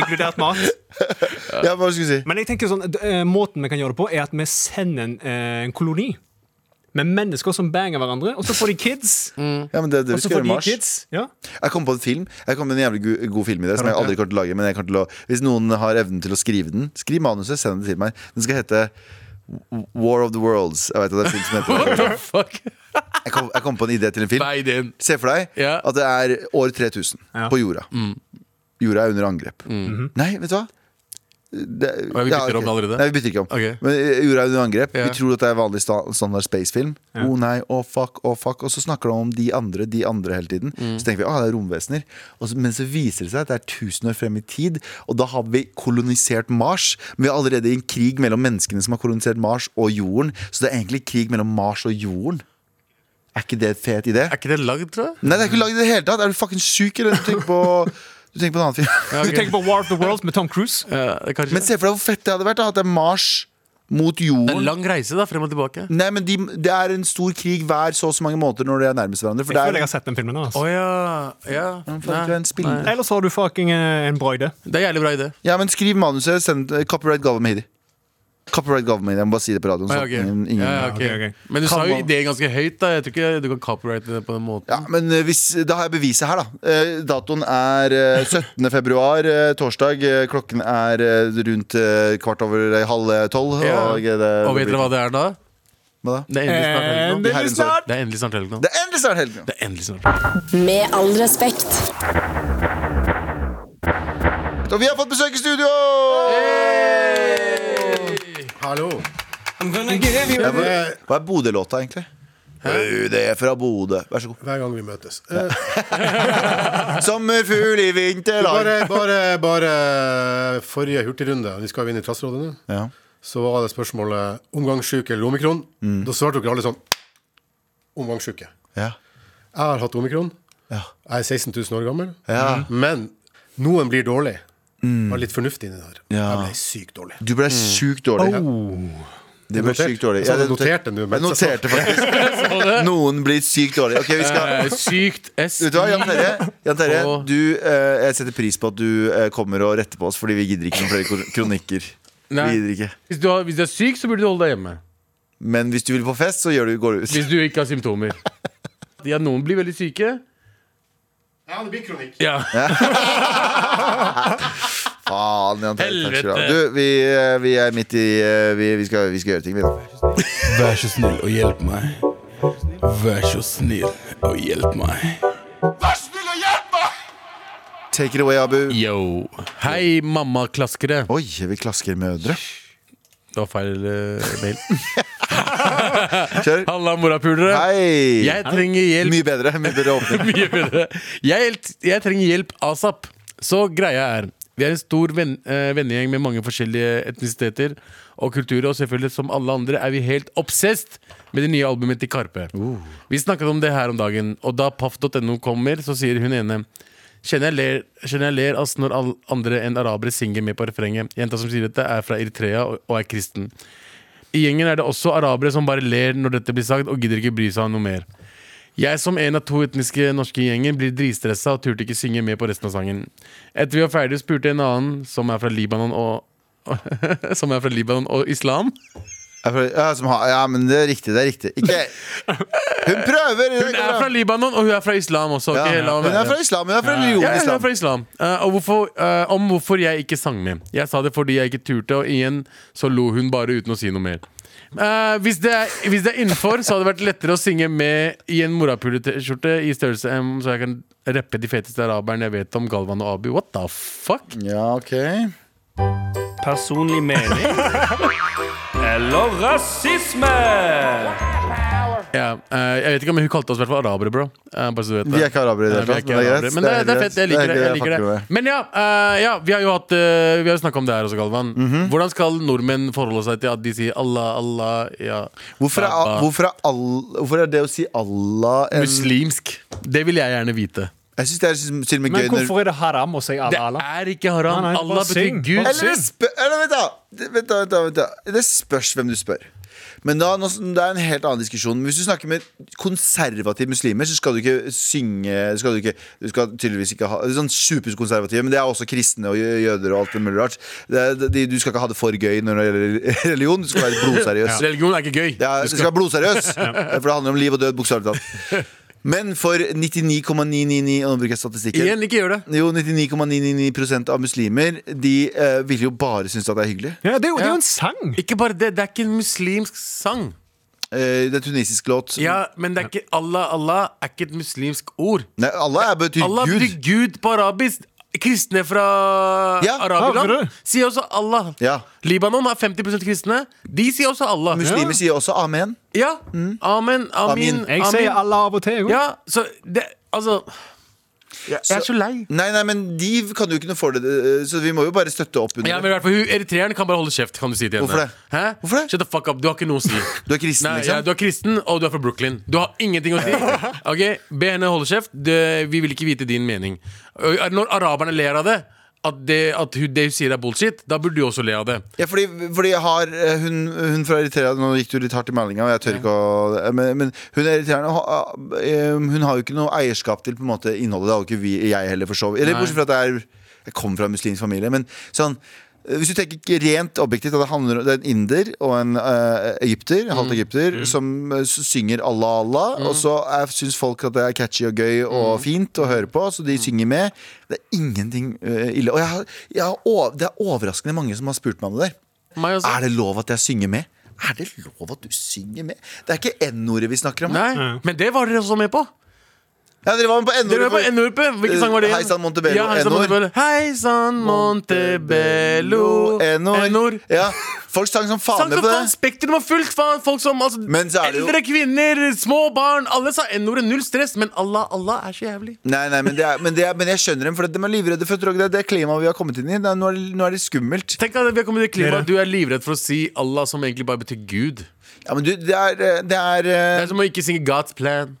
Inkludert mat. Ja, hva skulle jeg si? Men jeg tenker sånn, d- eh, måten vi kan gjøre det på, er at vi sender en, eh, en koloni med mennesker som banger hverandre, og så får de kids. Ja, men det, er det Og vi så skal får gjøre i de Mm. mars kids. Ja. Jeg kom på en film Jeg kom med en jævlig go- god film i det Som jeg aldri kommer til å lage Men jeg kommer til å Hvis noen har evnen til å skrive den Skriv manuset, send det til meg Den skal hete War of the Worlds Jeg vet at det er en film som heter det. Fuck. jeg kom, jeg kom på en idé til en film Hva er ideen? Se for deg Ja. Mm. at det er år 3000 Ja. på jorda. Jorda er under angrep. Nei, vet du hva? Det, Mhm. Å, vi bytter ok. om det allerede? Nei, vi bytter ikke om. Ok. Men eh, jorda er under angrep. Ja. Vi tror at det er vanlig sta standard spacefilm. Å nei, å fuck, å fuck. Og så snakker de om de andre, de andre hele tiden. Mm. Så tenker vi ah, det er romvesener. Og så, men så viser det seg at det er 1000 år frem i tid, og da har vi kolonisert Mars. Men vi er allerede i en krig mellom menneskene som har kolonisert Mars og jorden. Så det er egentlig krig mellom Mars og jorden. Er ikke det en fet idé? Er ikke det lagd, tror jeg? Nei, det er ikke laget i det hele tatt. Er du fucking syk, eller? Du tenker på, du tenker på en annen film. Ja, ok. Du tenker på War of the Worlds med Tom Cruise. Ja, det er kanskje. Men se for deg hvor fett det hadde vært. da, At det er Mars mot det er en jorden. lang reise, da, frem og tilbake. Å Nei, men de, Det er en stor krig hver så og så mange måneder når de er nærmest hverandre. For Jeg det føler jeg er, har sett den filmen. Altså. ja. ja. faen, du er en spiller. Nei. Eller så har du fucking eh, en broide. Det er jævlig bra idé. ja, men Skriv manuset. Send eh, copyright Galvan Mehidi. Copyright Galvan Mehidi. Jeg må bare si det på radioen. Ah, Så ja, ok. ingen, Sånn, ingen, ja, ja, ok. Ok, ok. Men Kan du sa jo man- ideen ganske høyt. da Jeg tror ikke du kan copyrighte det på den måten. Men eh, hvis, da har jeg beviset her, da. Eh, Datoen er eh, 17. februar, eh, torsdag. Eh, Klokken er eh, rundt eh, kvart over eh, halv eh, tolv. Ja. Og, eh, det, Og vet dere hva det er da? Hva da? Det er Endelig endelig snart helg nå. Herrens år. snart. Det er endelig snart helg nå. Det er endelig snart helg! nå. Det er endelig snart. Med all respekt. Og vi har fått besøk i studio! Hallo. Ja, hvor- Hva er Bodø-låta, egentlig? Au, Det er fra Bodø. Vær så god. Hver gang vi møtes. Eh, Sommerfugl i vinterland. bare, bare, bare eh, forrige hurtigrunde, vi skal jo inn i klasserådet nå, Ja. så var det spørsmålet omgangssyke eller omikron. Mm. Da svarte dere alle sånn omgangssyke. Ja. Jeg har hatt omikron. Ja. Jeg er 16 000 år gammel. Ja. Mm. Men noen blir dårlig. Var litt fornuftig inni der. Ja. Jeg ble sykt dårlig. Du ble sjukt dårlig. Ja. Det ble Notert. sykt dårlig. Jeg sa det- du noterte nå, Jeg mens jeg noterte faktisk. Noen blir sykt dårlig. Ok, vi skal Eh, sykt S. Vet du hva, Jan Terje, Jan Terje Og- du, eh, jeg setter pris på at du eh, kommer og retter på oss, fordi vi gidder ikke noen flere kor- kronikker. Nei. Vi gidder ikke Hvis du, har, hvis du er syk, så burde du holde deg hjemme. Men hvis du vil på fest, så gjør du, går du ut. Hvis du ikke har symptomer. Ja, noen blir veldig syke. Ja, det blir kronikk. Ja. Faen, Jan Terje. Takk skal du ha. Helvete. Du, vi, eh, vi er midt i eh, Vi, vi, skal, vi skal gjøre ting, vi, da. Vær så snill og hjelp meg. Vær så snill og hjelp meg. Take it away, Abu. Yo. Hei, mammaklaskere. Oi, vi klasker mødre. Det var feil eh, mail. Kjør. Halla, morapulere. Hei! Jeg trenger hjelp. Mye bedre. Mye bedre åpning. Mye bedre. Jeg, helt- jeg trenger hjelp asap. Så greia er Vi er en stor venn, eh, vennegjeng med mange forskjellige etnisiteter og kulturer. Og selvfølgelig, som alle andre, er vi helt obsessed med det nye albumet til Karpe. Vi snakket om det her om dagen, og da paff.no kommer, så sier hun ene Kjenner jeg ler, kjenner jeg ler ass når alle andre enn arabere synger med på refrenget. Jenta som sier dette, er fra Eritrea og, og er kristen. I gjengen er det også arabere som bare ler når dette blir sagt, og gidder ikke bry seg om noe mer. Jeg som en av to etniske norske i gjengen blir dritstressa og turte ikke synge med på resten av sangen. Etter vi var ferdige, spurte en annen, som er fra Libanon og Som er fra Libanon og islam. Jeg prøver, ja, som har, ja, men det er riktig, det er riktig. Ikke Hun prøver! Hun er fra Libanon, og hun er fra islam også. ja, ikke hele- Hun er fra islam. Hun er fra religionen Ja, hun er islam. fra islam. Eh, og hvorfor, eh, om hvorfor jeg ikke sang med. Jeg sa det fordi jeg ikke turte, og igjen så lo hun bare uten å si noe mer. Eh, hvis, det er, hvis det er innenfor, så hadde det vært lettere å synge med i en morapuleskjorte i størrelse M, så jeg kan rappe de feteste araberne jeg vet om, Galvan og Abu. What the fuck? Ja, ok Personlig mening eller rasisme? Ja, eh, jeg vet ikke, men hun kalte oss i hvert fall arabere, bro. Eh, bare så du vet det. Vi er ikke arabere i det Nei, vi hele er tatt, ikke men det er greit. arabere, Men det er, det er greit. fett. Jeg liker det. Jeg er liker greit, det. jeg fucker med Men ja, eh, ja, vi har jo hatt eh, Vi har jo snakka om det her også, Galvan. Mhm. Hvordan skal nordmenn forholde seg til at de sier Allah, Allah, ja Hvorfor er, Baba? hvorfor, er all, hvorfor er det å si Allah en Muslimsk. Det vil jeg gjerne vite. Jeg syns det er til og med Men gøy når hvorfor er det haram å si Det Allah Allah? er ikke haram. Nei, nei, Allah bare betyr syng. Gud. Bare Eller det, spør, eller, vent da. Det- Vent, da, vent, da, vent da Det spørs hvem du spør. Men da, nå, det er en helt annen diskusjon. Men Hvis du snakker med konservative muslimer, så skal du ikke synge skal du, ikke, du skal tydeligvis ikke ha Sånn superkonservative, men det er også kristne og jø- jøder og alt det mulig rart. Det, er- de, du skal ikke ha det for gøy når det gjelder religion. Du skal være blodseriøs. Religion er ikke gøy. Ja, det skal være blodseriøs, for det handler om liv og død, bokstavelig talt. Men for 99,999 Og nå bruker jeg statistikken. Igjen, ikke gjør det. Jo, 99,999 av muslimer De eh, vil jo bare synes at det er hyggelig Ja, det, er jo, det er Ja. jo en sang! Ikke bare det, det er ikke en muslimsk sang. Eh, Det er tunisisk låt Mm. Ja, Men det er ikke Allah, Allah er ikke et muslimsk ord. Nei, Allah er betyr Allah Gud betyr Gud på arabisk. Kristne fra Ja, hva er araberland det? sier også Allah. Ja. Libanon har 50 kristne. De sier også Allah. Muslimer sier også amen Ja. Amen, amin, Mm. Amin. Jeg sier Allah av og til. jo. Ja, så det Altså Jeg, jeg er så lei. Nei, nei, men de kan jo ikke noe for det eh, Så vi må jo bare støtte opp under Ja, men i hvert fall, hun, Eritreeren kan bare holde kjeft. Kan du si til henne Hvorfor det? Hæ? Hvorfor det? Shut the fuck up, Du har ikke noe å si. Du er kristen, Nei, liksom ja, du er kristen, og du er fra Brooklyn. Du har ingenting å si. Ok, Be henne holde kjeft. Det, vi vil ikke vite din mening. Ø, Når araberne ler av det, at det, at hun, det hun sier er bullshit, da burde du også le av det. Ja, fordi, fordi jeg har eh, hun, hun fra Eritrea Nå gikk du litt hardt i meldinga, og jeg tør ikke å men, men hun er eritreerne ha- eh, Hun har jo ikke noe eierskap til på en måte, innholdet. Det har jo ikke vi, jeg heller, for så vidt. Eller Nei. bortsett fra at jeg, er, jeg kommer fra en muslimsk familie. Men sånn eh, hvis du tenker ikke rent objektivt at det handler om det er en inder og en eh, egypter, Mm. halvt egypter, som eh, s- synger Allah Allah, og så syns folk at det er catchy og gøy Mm. og fint å høre på, så de synger med. Det er ingenting eh, ille. Og jeg har, jeg har, o- det er overraskende mange som har spurt meg om det der. Meg også. Er det lov at jeg synger med? Er det lov at du synger med? Det er ikke N-ordet vi snakker om. her. Nei, men det var dere også med på. Ja, dere var med på Dere var på N-ordet. NORP. Hvilken sang var det? Hei sann, Eh, Montebello, Ja, Hei sann, N-ord. Montebello. Hei sann, Montebello. for- N-ord. N-ord. Ja, folk sang som faen Sang med som på faen, det. Spektrum var fullt. Faen, folk som altså, Men så er det jo- Eldre kvinner, små barn. Alle sa N-ordet. Null stress. Men Allah, Allah er så jævlig. Nei, nei, men, det er, men, det er, men jeg skjønner dem, for de er livredde for å tråkke det. Det er klimaet vi har kommet inn i. Det er, nå, er, det- nå er det skummelt. Tenk at vi har kommet i klima Du er livredd for å si Allah, som egentlig bare betyr Gud. Ja, men du, det er, eh, det er Det eh, er som å ikke synge God's plan.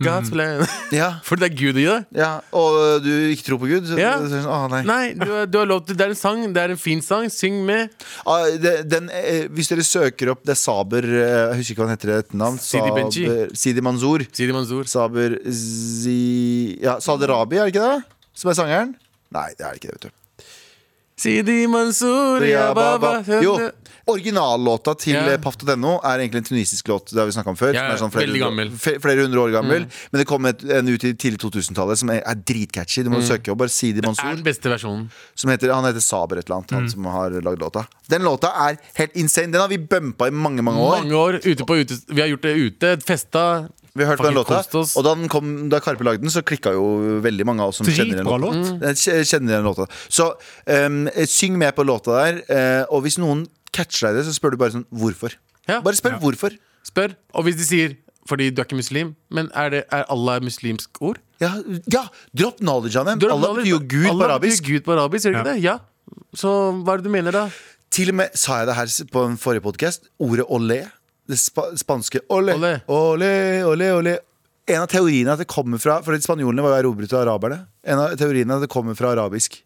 God's Mm. plan. Ja. For det er Gud i det. ja. Og eh, du ikke tror på Gud? Så, Ja. så, å, nei. Nei, du, har- du har lov til Det er en sang. Det er en fin sang. Syng med. Ah, det, den, eh, hvis dere søker opp Det er Saber eh, Jeg husker ikke hva han heter i et navn. Sidi Benji. Saber- Sidi Manzour. Sidi Manzoor. Saber Zi... Ja, Saderabi, er det ikke det? Som er sangeren? Nei, det er det ikke det, vet du. Sidi Mansour, Ja, ja, ba, baba. ba. Jo, originallåta til eh, Ja. ja. Paft.no er egentlig en tunisisk låt. Det har vi snakket om før. Ja, som er sånn veldig flere, gammel. Mm. hundre, fe- flere hundre år gammel. Men det kom et, en ut i tidlig 2000-tallet som er, er dritcatchy. Du må søke opp bare Sidi Mm. er Mm. den Mansour. beste versjonen. Som heter, han heter Saber et eller annet, han som har lagd låta. Den låta er helt insane. Den har vi bumpa i mange, mange år. Mange år ute på ute, Vi har gjort det ute, festa. Vi har hørt på den Fucking låta, kost oss. og da, den kom, da Karpe lagde den, så klikka jo veldig mange av oss som kjenner den Dritbra låta. Jeg kj- Kjenner den låta. Så em, syng med på låta der, eh, og hvis noen catcher deg i det, så spør du bare sånn hvorfor. Ja. Bare spør hvorfor. Spør. Og hvis de sier fordi du er ikke muslim. Men er, det, er Allah et muslimsk ord? Ja, ja dropp knowledge, Hanem. Du er- Allah betyr jo Gud Allah på betyr arabisk. Gud på arabisk, gjør det ikke det? Ja. Så hva er det du mener, da? Til og med sa jeg det her på en forrige podkast. Ordet olé. Det spa spanske olé. Olé. Olé, olé, olé. En av teoriene er at det kommer fra For spanjolene var jo erobret av araberne. En av teoriene er at det kommer fra arabisk.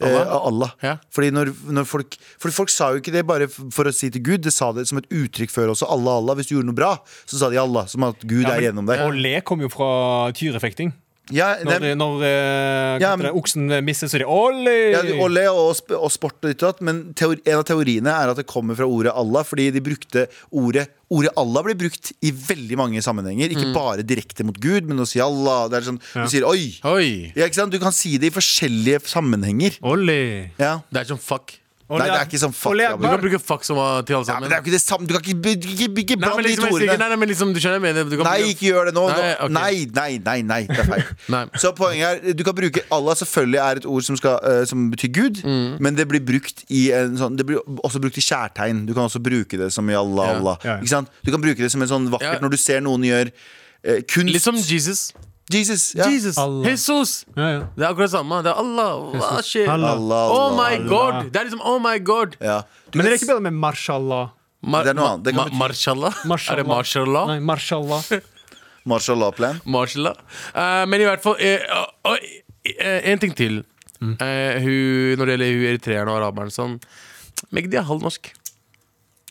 Eh, av Allah. Ja. Fordi når, når folk Fordi folk sa jo ikke det bare f- for å si til Gud, det sa det som et uttrykk før også. Allah, Allah. Hvis du gjorde noe bra, så sa de Allah. Som at Gud er gjennom deg. Og le kom jo fra tyrefekting. Ja, Når, det, når eh, hva Ja, heter men- det, oksen misser, så er det Olli! ja, olé og, sp og sport og ditt og datt, men teori, en av teoriene er at det kommer fra ordet Allah, fordi de brukte ordet Ordet Allah blir brukt i veldig mange sammenhenger. Mm. Ikke bare direkte mot Gud, men å si Allah. Det er sånn, Du sier oi. Oi! Ja, ikke sant? Du kan si det i forskjellige sammenhenger. Olli. Ja. Det er som fuck. Nei, det er ikke sånn fuck. Olé Ja, Akbar. Du men, kan bruke fuck som var til alle ja, sammen. men det er jo ikke det samme. Du kan ikke, ikke, ikke, ikke Nei, blande men de to liksom, jeg sier ikke- ordene. nei, nei, men liksom, du skjønner hva jeg mener. Du kan Nei, bruke- ikke gjør det nå. Nei, Nei, ok. nei, nei, nei, nei, det er feil. Nei. Så poenget er, du kan bruke Allah selvfølgelig er et ord som, skal, eh, som betyr Gud, Mm. men det blir brukt i en sånn Det blir også brukt i kjærtegn. Du kan også bruke det som i Allah, Ja, Allah. ja, ja. Ikke sant? Du kan bruke det som en sånn vakkert Ja. når du ser noen gjør eh, kunst. Litt som Liksom Jesus. Jesus. Ja. Jesus. Allah. Jesus. Ja, ja. Det er akkurat samme. Det er Allah. Hva skjer? Allah. Allah, Oh Allah. my god! Det er liksom oh my god. Ja. Du Men er kan det ikke bedre med marshallah? Ma- Det er noe annet. Det kan ma- bety- Marshallah? Er det marshallah? Nei, marshallah. s- Mashallah-plan. Marshallah. Eh, men i hvert fall eh, og- og, eh, En ting til. Mm. Eh, hun, når det gjelder hun eritreeren og araberen sånn Magdi er halvnorsk.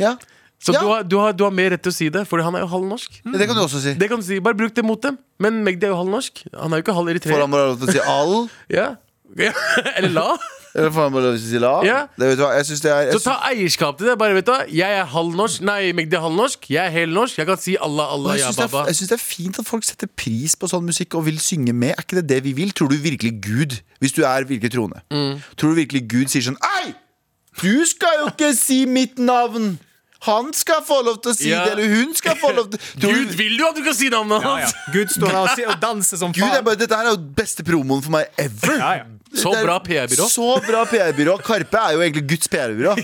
Ja. Så Ja. du, har, du, har, du har mer rett til å si det, for han er jo halvnorsk. Mm. Det kan du også si. Det kan du si, Bare bruk det mot dem. Men Magdi er jo halvnorsk. Han er jo ikke halv Får eritreer. han bare lov til å si al? Ja. Ja. Eller la. Eller får han bare lov til å si la? Ja. Det, vet du hva, jeg synes det er jeg Så ta eierskap til det. Bare vet du hva, Jeg er halvnorsk. Nei, Magdi er halvnorsk. Jeg er helnorsk. Jeg kan si Allah, Og Allah, Jeg ja, syns det, er- baba. jeg synes det er fint at folk setter pris på sånn musikk og vil synge med. Er ikke det det vi vil? Tror du virkelig Gud, hvis du er virkelig troende, Mm. tror du virkelig Gud sier sånn Ei! Du skal jo ikke si mitt navn! Han skal få lov til å si Ja. det, eller hun skal få lov til Tror du- Gud vil jo at du kan si navnet Ja, hans! ja. Gud står der og, sier- og danser som Gud, faen. er bare, Dette her er jo beste promoen for meg ever. Ja, ja. Så Det er- bra PR-byrå. Så bra PR-byrå. Karpe er jo egentlig Guds PR-byrå.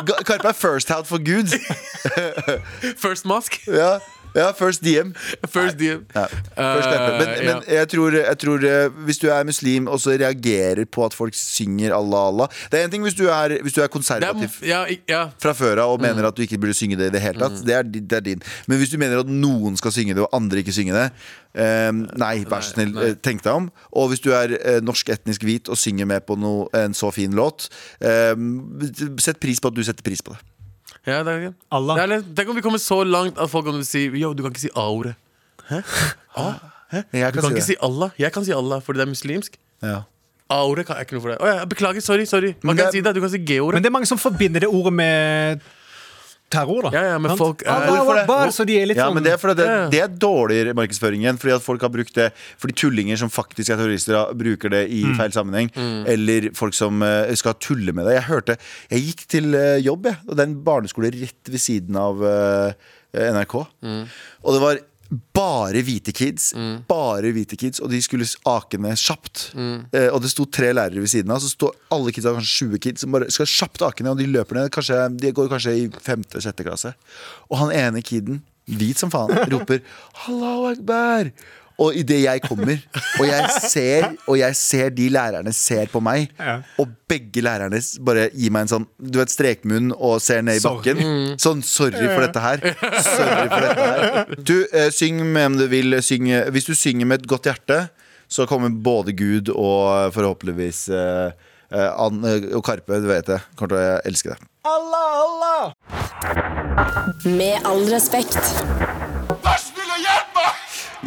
Ga- Karpe er first out for Gud. First mask. Ja, ja First DM. First DM. Ja, First Step. men, Eh, men jeg tror, jeg tror eh, hvis du er muslim og så reagerer på at folk synger Allah Allah Det er en ting hvis du er, hvis du er Det er, Mm. konservativ ja, ik- ja. fra før av og mener at du ikke burde synge det i det hele Mm. tatt, det, er, di- det er din. Men hvis du mener at noen skal synge det og andre ikke synge det, eh, nei, vær så snill, eh, tenk deg om. Og hvis du er eh, norsk etnisk hvit og synger med på noe, en så fin låt, eh, sett pris på at du setter pris på det. ja det er, Allah. Det er, litt- tenk om vi kommer så langt at folk kommer til å si Yo, du kan ikke si A-ordet. Jeg Du kan ikke det. si Allah. Jeg kan si Allah fordi det er muslimsk. Ja. A-ordet kan jeg ikke noe for deg. Å, ja, beklager, sorry. sorry Man Men kan det- si det. Du kan si Men G-ordet. det er mange som forbinder det ordet med terror, da. Ja, ja, men Sant? folk er- Allah Hvorfor det? Akbar, så de er litt Ja, sånn men det er, fordi det, Ja. det er dårligere markedsføring igjen. Fordi at folk har brukt det Fordi tullinger som faktisk er terrorister, har- bruker det Mm. i feil sammenheng. Eller folk som eh, skal tulle med det. Jeg hørte Jeg gikk til eh, jobb, jeg, og det er en barneskole rett ved siden av eh, NRK. Mm. Og det var bare hvite kids. Bare hvite kids Og de skulle ake ned kjapt. Eh, og det sto tre lærere ved siden av, så står alle kidsa, kanskje 20 kids, som bare skal kjapt ake ned. Og de løper ned. Kanskje, de går kanskje i femte sjette klasse. Og han ene kiden, hvit som faen, roper 'Hallahu akbar'. Og idet jeg kommer, og jeg ser Og jeg ser de lærerne ser på meg, Ja. og begge lærerne s- bare gir meg en sånn Du vet strekmunn og ser ned i Sorry. bakken. Sånn 'sorry for dette her'. Sorry for dette her. Du, eh, syng med om du vil. Syng, eh, hvis du synger med et godt hjerte, så kommer både Gud og eh, forhåpentligvis eh, eh, Ann eh, og Karpe, du vet det. Kommer til å elske det. Allah, Allah! Med all respekt.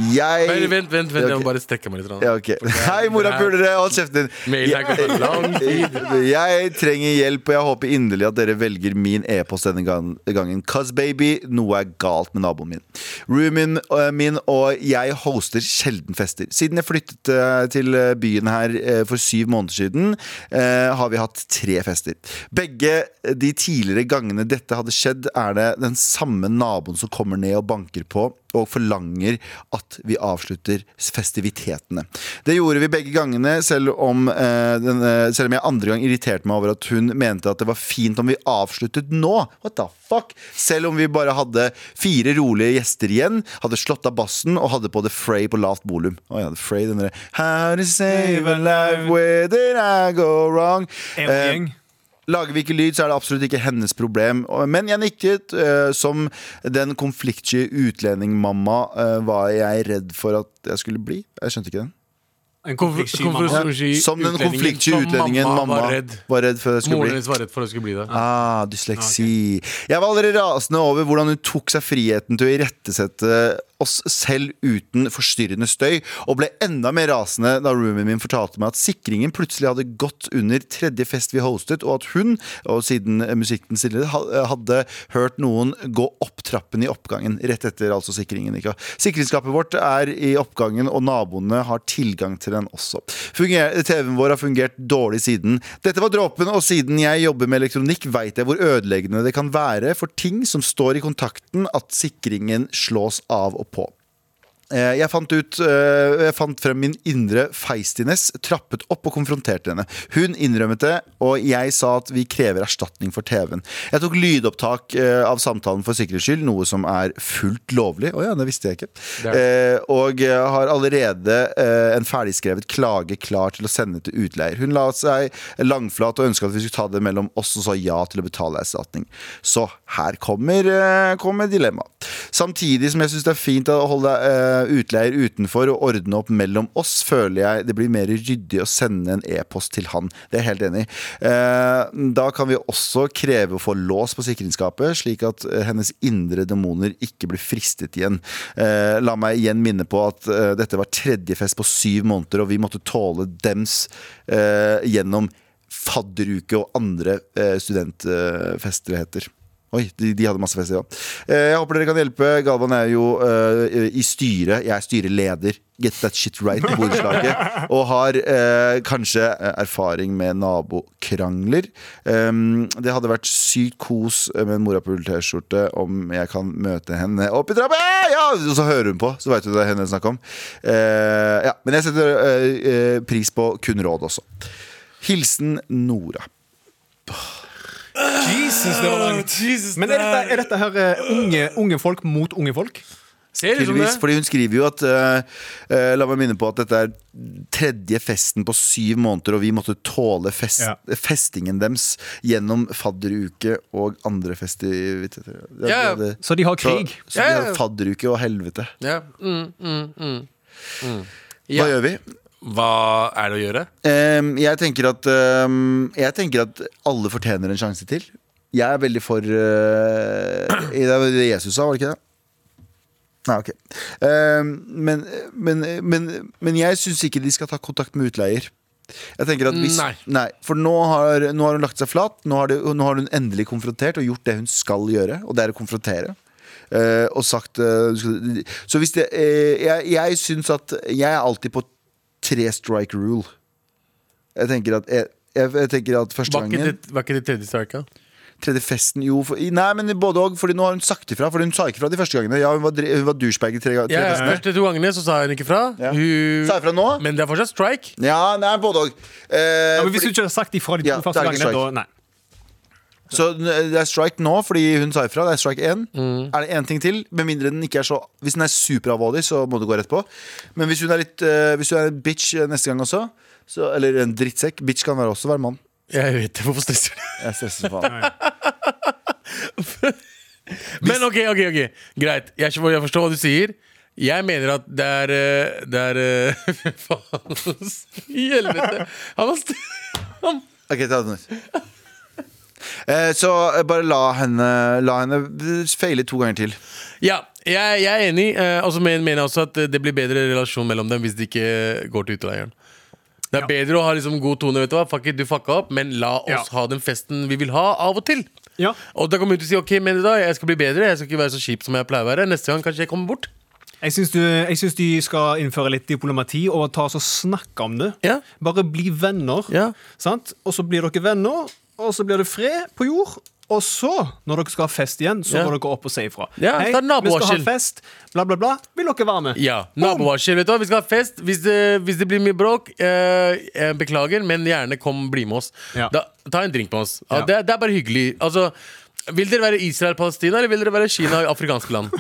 Jeg Vent, vent, vent, vent jeg må ok. bare strekke meg litt. Rana. Ja, ok. Hei, morapulere! Hold kjeften din. Mailen her går for lang tid. Jeg trenger hjelp, og jeg håper inderlig at dere velger min e-post denne gang- gangen. Cuz baby, noe er galt med naboen min. Roomien eh, min og jeg hoster sjelden fester. Siden jeg flyttet eh, til eh, byen her eh, for syv måneder siden, eh, har vi hatt tre fester. Begge de tidligere gangene dette hadde skjedd, er det den samme naboen som kommer ned og banker på og forlanger at vi avslutter festivitetene. Det gjorde vi begge gangene, selv om, eh, den, eh, selv om jeg andre gang irriterte meg over at hun mente at det var fint om vi avsluttet nå. What the fuck? Selv om vi bare hadde fire rolige gjester igjen, hadde slått av bassen og hadde på The Fray på lavt volum. Å ja, The Fray, den derre How to save a life where did I go wrong? En Eh, gjeng. Lager vi ikke lyd, så er det absolutt ikke hennes problem. Men jeg nikket eh, som den konfliktsky utlendingmamma uh, var jeg redd for at jeg skulle bli. Jeg skjønte ikke den. En Konf- konfliktsky mamma. konfliktsky Som den utlendingen konfliktsky som utlendingen mamma var redd. var redd for jeg skulle Moren bli. hennes var redd for at det skulle bli det. Ah, dysleksi. Jeg var allerede rasende over hvordan hun tok seg friheten til å irettesette oss selv uten forstyrrende støy, og ble enda mer rasende da roomien min fortalte meg at sikringen plutselig hadde gått under tredje fest vi hostet, og at hun, og siden musikken stille, ha- hadde hørt noen gå opp trappen i oppgangen. Rett etter altså sikringen. Ikke? Sikringsskapet vårt er i oppgangen, og naboene har tilgang til den også. Funger- TV-en vår har fungert dårlig siden. Dette var dråpen, og siden jeg jobber med elektronikk, veit jeg hvor ødeleggende det kan være for ting som står i kontakten, at sikringen slås av og på. Eh, Jeg fant, ut, eh, jeg fant frem min indre feistiness, trappet opp og konfronterte henne. Hun innrømmet det, og jeg sa at vi krever erstatning for TV-en. Jeg tok lydopptak eh, av samtalen for sikkerhets skyld, noe som er fullt lovlig. Å ja, det visste jeg ikke. Eh, Og eh, har allerede eh, en ferdigskrevet klage klar til å sende til utleier. Hun la seg langflat og ønska at vi skulle ta det mellom oss, og sa ja til å betale erstatning. Så her kommer, eh, kommer dilemmaet. Samtidig som jeg syns det er fint å holde eh, utleier utenfor og ordne opp mellom oss, føler jeg det blir mer ryddig å sende en e-post til han. Det er jeg helt enig i. Eh, da kan vi også kreve å få lås på sikringsskapet, slik at eh, hennes indre demoner ikke blir fristet igjen. Eh, la meg igjen minne på at eh, dette var tredje fest på syv måneder, og vi måtte tåle dems eh, gjennom fadderuke og andre eh, studentfester det heter. Oi, de, de hadde masse fester, ja. Eh, jeg håper dere kan hjelpe. Galvan er jo eh, i styret. Jeg er styreleder. Get that shit right i borettslaget. Og har eh, kanskje eh, erfaring med nabokrangler. Um, det hadde vært sykt kos med en morapull-T-skjorte om jeg kan møte henne opp i trappa! Ja! Og så hører hun på, så veit du det er henne det er snakk om. Eh, ja, men jeg setter eh, eh, pris på kun råd også. Hilsen Nora. Jesus, det var langt. Men er dette, er dette her eh, unge, unge folk mot unge folk? Ser ut som Tydeligvis, det. fordi hun skriver jo at eh, eh, La meg minne på at dette er tredje festen på syv måneder, og vi måtte tåle fest, Ja. festingen deres gjennom fadderuke og andre festiviteter. Det- Ja, ja. det- Så de har Så, krig? så de Ja, ja. har fadderuke og helvete. Ja. Mm, mm, mm. Hva gjør vi? Hva er det å gjøre? Ehm, jeg, tenker at, ehm, jeg tenker at alle fortjener en sjanse til. Jeg er veldig for eh, Det var det Jesus sa, var det ikke det? Nei, ok. Ehm, men, men, men, men jeg syns ikke de skal ta kontakt med utleier. Jeg tenker at hvis, Nei. For nå har, nå har hun lagt seg flat. Nå har, det, nå har hun endelig konfrontert og gjort det hun skal gjøre, og det er å konfrontere. Eh, og sagt eh, du skal- Så hvis det eh, Jeg, jeg syns at jeg er alltid på tre strike rule. Jeg tenker at, jeg, jeg, jeg tenker at første Var ikke gangen det, var ikke det tredje strika? Tredje festen, jo for, i- Nei, men både og, fordi nå har hun sagt ifra. Fordi hun sa ikke fra de første gangene. Ja, hun var, dri- hun var douchebag i tre, ga- tre Ja, ja, festene. første to gangene så sa hun ikke fra. Ja. Hun... Sa ifra nå? Men det er fortsatt strike. Ja, nei, både og. Eh, Ja, men hvis du fordi, ikke hadde sagt ifra de to Ja, det første er ikke gangene, da strike. Nei. så n- eh, det er strike nå fordi hun sa ifra. Det er strike én. Mm. Er det én ting til? Med mindre den ikke er så Hvis den er superalvorlig, så må du gå rett på. Men hvis hun er litt eh, Hvis hun er en bitch eh, neste gang også, så, eller en drittsekk Bitch kan være også være mann. Jeg vet det, hvorfor stresser du? Jeg stresser som faen. Men ok, ok, ok, greit. Jeg, skjønner- jeg forstår hva du sier. Jeg mener at det er eh, Det er eh, Faen, i helvete. Han var st Ok, ta den ut. Eh, Så eh, bare la henne, la henne eh, feile to ganger til. Ja, jeg, jeg er enig. eh, Og så men- mener jeg også at eh, det blir bedre relasjon mellom dem hvis de ikke går til utleieren. Det er bedre å ha liksom god tone. vet Du hva Fuck it, du fucka opp, men la oss Ja. ha den festen vi vil ha, av og til. Ja. Og da kommer hun til å si ok, mener du da, jeg skal bli bedre. Jeg skal ikke være så kjip som jeg pleier å være. Neste gang kanskje jeg kommer bort. Jeg syns, du, jeg syns de skal innføre litt diplomati og ta oss og snakke om det. Ja. Bare bli venner. Ja. Sant? Og så blir dere venner, og så blir det fred på jord. Og så, når dere skal ha fest igjen, så Ja. må dere opp og si ifra. Ja, Hei, ta vi skal ha nabovarsel. fest, bla, bla, bla. Vil dere være med? Ja, Nabovarsel. vet du hva, Vi skal ha fest. Hvis det, hvis det blir mye bråk, eh, eh, beklager, men gjerne kom, bli med oss. Ja. Da, ta en drink med oss. Ja, Ja. det, er- det er bare hyggelig. Altså, vil dere være Israel-Palestina, eller vil dere være Kina og afrikanske land?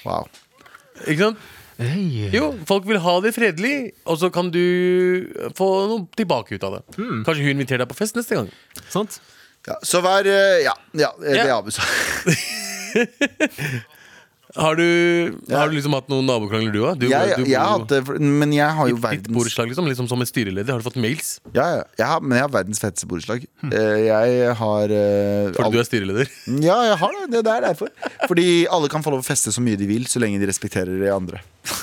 Wow. Ikke sant? Jo, folk vil ha det fredelig, og så kan du få noe tilbake ut av det. Kanskje hun inviterer deg på fest neste gang. Sant? Ja, så vær eh, Ja, ja det er Ja. Abu sa. Har du, har du liksom hatt noen nabokrangler, du òg? Du, Jeg, du- jeg har hatt det, for- men jeg har jo Ditt verdens borettslag, liksom, liksom som en styreleder. Har du fått mails ja, ja, jeg har, Men jeg har verdens fetteste borettslag. Eh, Jeg har eh, fordi alt- du er styreleder? Ja, jeg har det. Det det er derfor. Fordi alle kan få lov å feste så mye de vil, så lenge de respekterer de andre.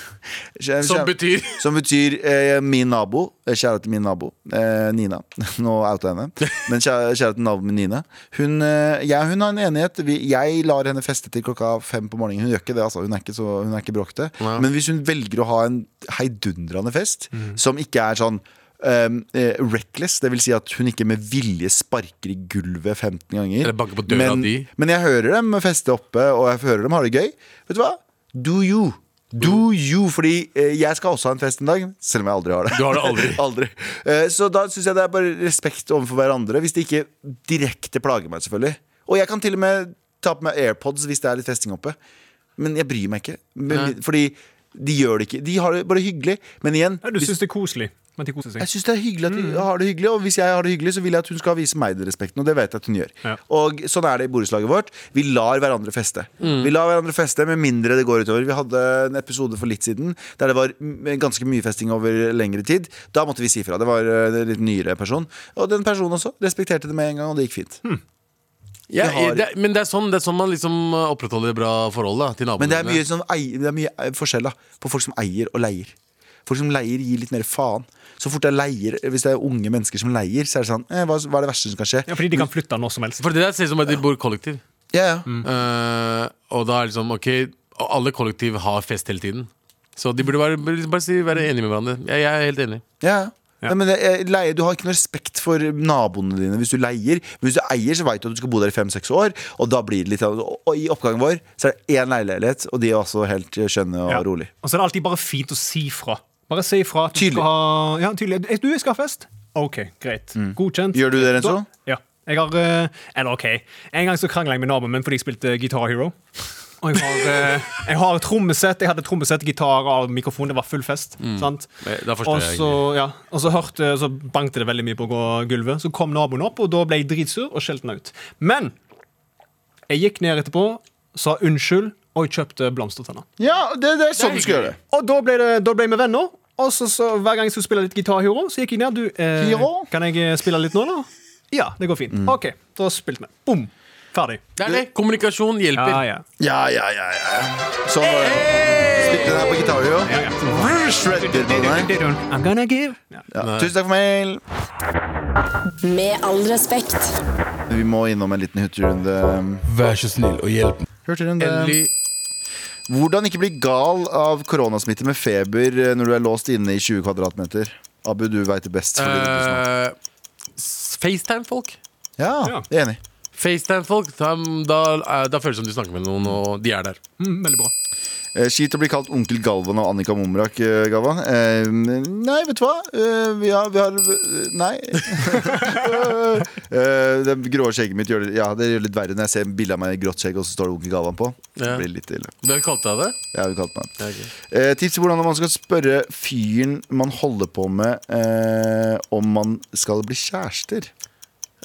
Kjære- Som kjære- betyr Som betyr eh, min nabo. eh, Kjære til min nabo, eh, Nina. Nå outa jeg henne. Men kjære, kjære til naboen min, Nina. Hun, eh, jeg, hun har en enighet. Vi, jeg lar henne feste til klokka fem på morgenen. Hun gjør ikke det, altså. Hun er ikke, så, hun er ikke bråkete. Men hvis hun velger å ha en heidundrende fest, Mm. som ikke er sånn Um, eh, reckless, det vil si at hun ikke med vilje sparker i gulvet 15 ganger Eller banker på døra men, di. Men jeg hører dem feste oppe, og jeg hører dem har det gøy. Vet du hva? Do you. Do you, fordi eh, jeg skal også ha en fest en dag, selv om jeg aldri har det. Du har det aldri. Eh, Så da syns jeg det er bare respekt overfor hverandre, hvis det ikke direkte plager meg, selvfølgelig. Og jeg kan til og med ta på meg AirPods hvis det er litt festing oppe, men jeg bryr meg ikke. Men, fordi de gjør det ikke. De har det bare hyggelig, men igjen Ja, du syns det er koselig. Men de koser seg. jeg syns det er hyggelig at hun Mm. har det hyggelig, og hvis jeg har det hyggelig, så vil jeg at hun skal vise meg den respekten, og det vet jeg at hun gjør. Ja. Og sånn er det i borettslaget vårt. Vi lar hverandre feste. Mm. Vi lar hverandre feste med mindre det går utover. Vi hadde en episode for litt siden der det var m- ganske mye festing over lengre tid. Da måtte vi si fra. Det var eh, en litt nyere person. Og den personen også respekterte det med en gang, og det gikk fint. Mm. Ja, Vi har- det, er- men det er, sånn, det er sånn man liksom eh, opprettholder bra forhold da, til naboene. Men det er mye, sine. sånn, ei- det er mye eh, forskjell da, på folk som eier og leier. Folk som leier gir litt mer faen. Så fort det er leier, Hvis det er unge mennesker som leier, så er det sånn eh, hva, hva er det verste som kan skje? Ja, fordi de kan flytte når som helst. For det der ser ut som at de bor kollektiv. Ja, ja. Mm. Eh, og da er det liksom, ok, og alle kollektiv har fest hele tiden. Så de burde bare, liksom bare, bare si, være enige med hverandre. Jeg, jeg er helt enig. Ja, ja. Nei, men det er- leie, Du har ikke noe respekt for naboene dine hvis du leier. Men hvis du eier, så vet du at du skal bo der i fem-seks år. Og da blir det litt og, og i oppgangen vår så er det én leieleilighet, og de er også helt eh, skjønne og Ja. rolig. Og så er det alltid bare fint å si fra. Bare si fra. at du Tydelig. skal Ha, ja, tydelig. Eh, Du, jeg skal ha fest. OK, greit. Mm. Godkjent. Gjør du det, Renzo? Da- Ja. Jeg har eh, Eller OK. En gang så krangla jeg med naboen min fordi jeg spilte Guitar Hero. Og jeg har, eh, jeg har trommesett, jeg hadde trommesett, gitar og mikrofon. Det var full fest. sant? Mm. Det- da forstår Og jeg så, ja, og så, hørte, så bankte det veldig mye på gå- gulvet. Så kom naboen opp, og da ble jeg dritsur og skjelte han ut. Men jeg gikk ned etterpå, sa unnskyld, og jeg kjøpte blomster til han. Ja, det, det er sånn du skal gjøre det. Og da ble, det, da ble vi venner. Og så, så Hver gang jeg skulle spille litt gitarhero, så gikk jeg ned. Du, eh, Hero? kan jeg eh, spille litt nå, da? Ja, det går fint. OK, da spilte vi. Bom. Ferdig. Det er det. Kommunikasjon hjelper. Ja, ja. Ja, ja, ja. ja. Sånn var det. Spilte den her på gitar, jo. Shredded på den her. I'm gonna give. Ja. Ja. Tusen takk for mail. Med all respekt. Vi må innom en liten hurtigrunde. Vær så snill og hjelp meg. Hurtigrunde. Endelig. Hvordan ikke bli gal av koronasmitte med feber eh, når du er låst inne i 20 kvadratmeter? Abu, du veit det best. fordi du er Eh, s- FaceTime-folk. Ja, Ja. jeg er enig. FaceTime-folk, da, da, er- da føles det som du snakker med noen, og de er der. Mm, veldig bra. Eh, Kjipt å bli kalt onkel Galvan av Annika Momrak, eh, Galvan. Eh, nei, vet du hva? Eh, vi har, vi har eh, Nei. eh, det grå skjegget mitt gjør det, ja, det gjør det litt verre når jeg ser bilde av meg i grått skjegg, og så står det onkel Galvan på. Ja. Det blir litt ille. Hvem kalte deg det? Jeg har jo kalt meg Ja, ok. Eh, tips til hvordan man skal spørre fyren man holder på med, eh, om man skal bli kjærester.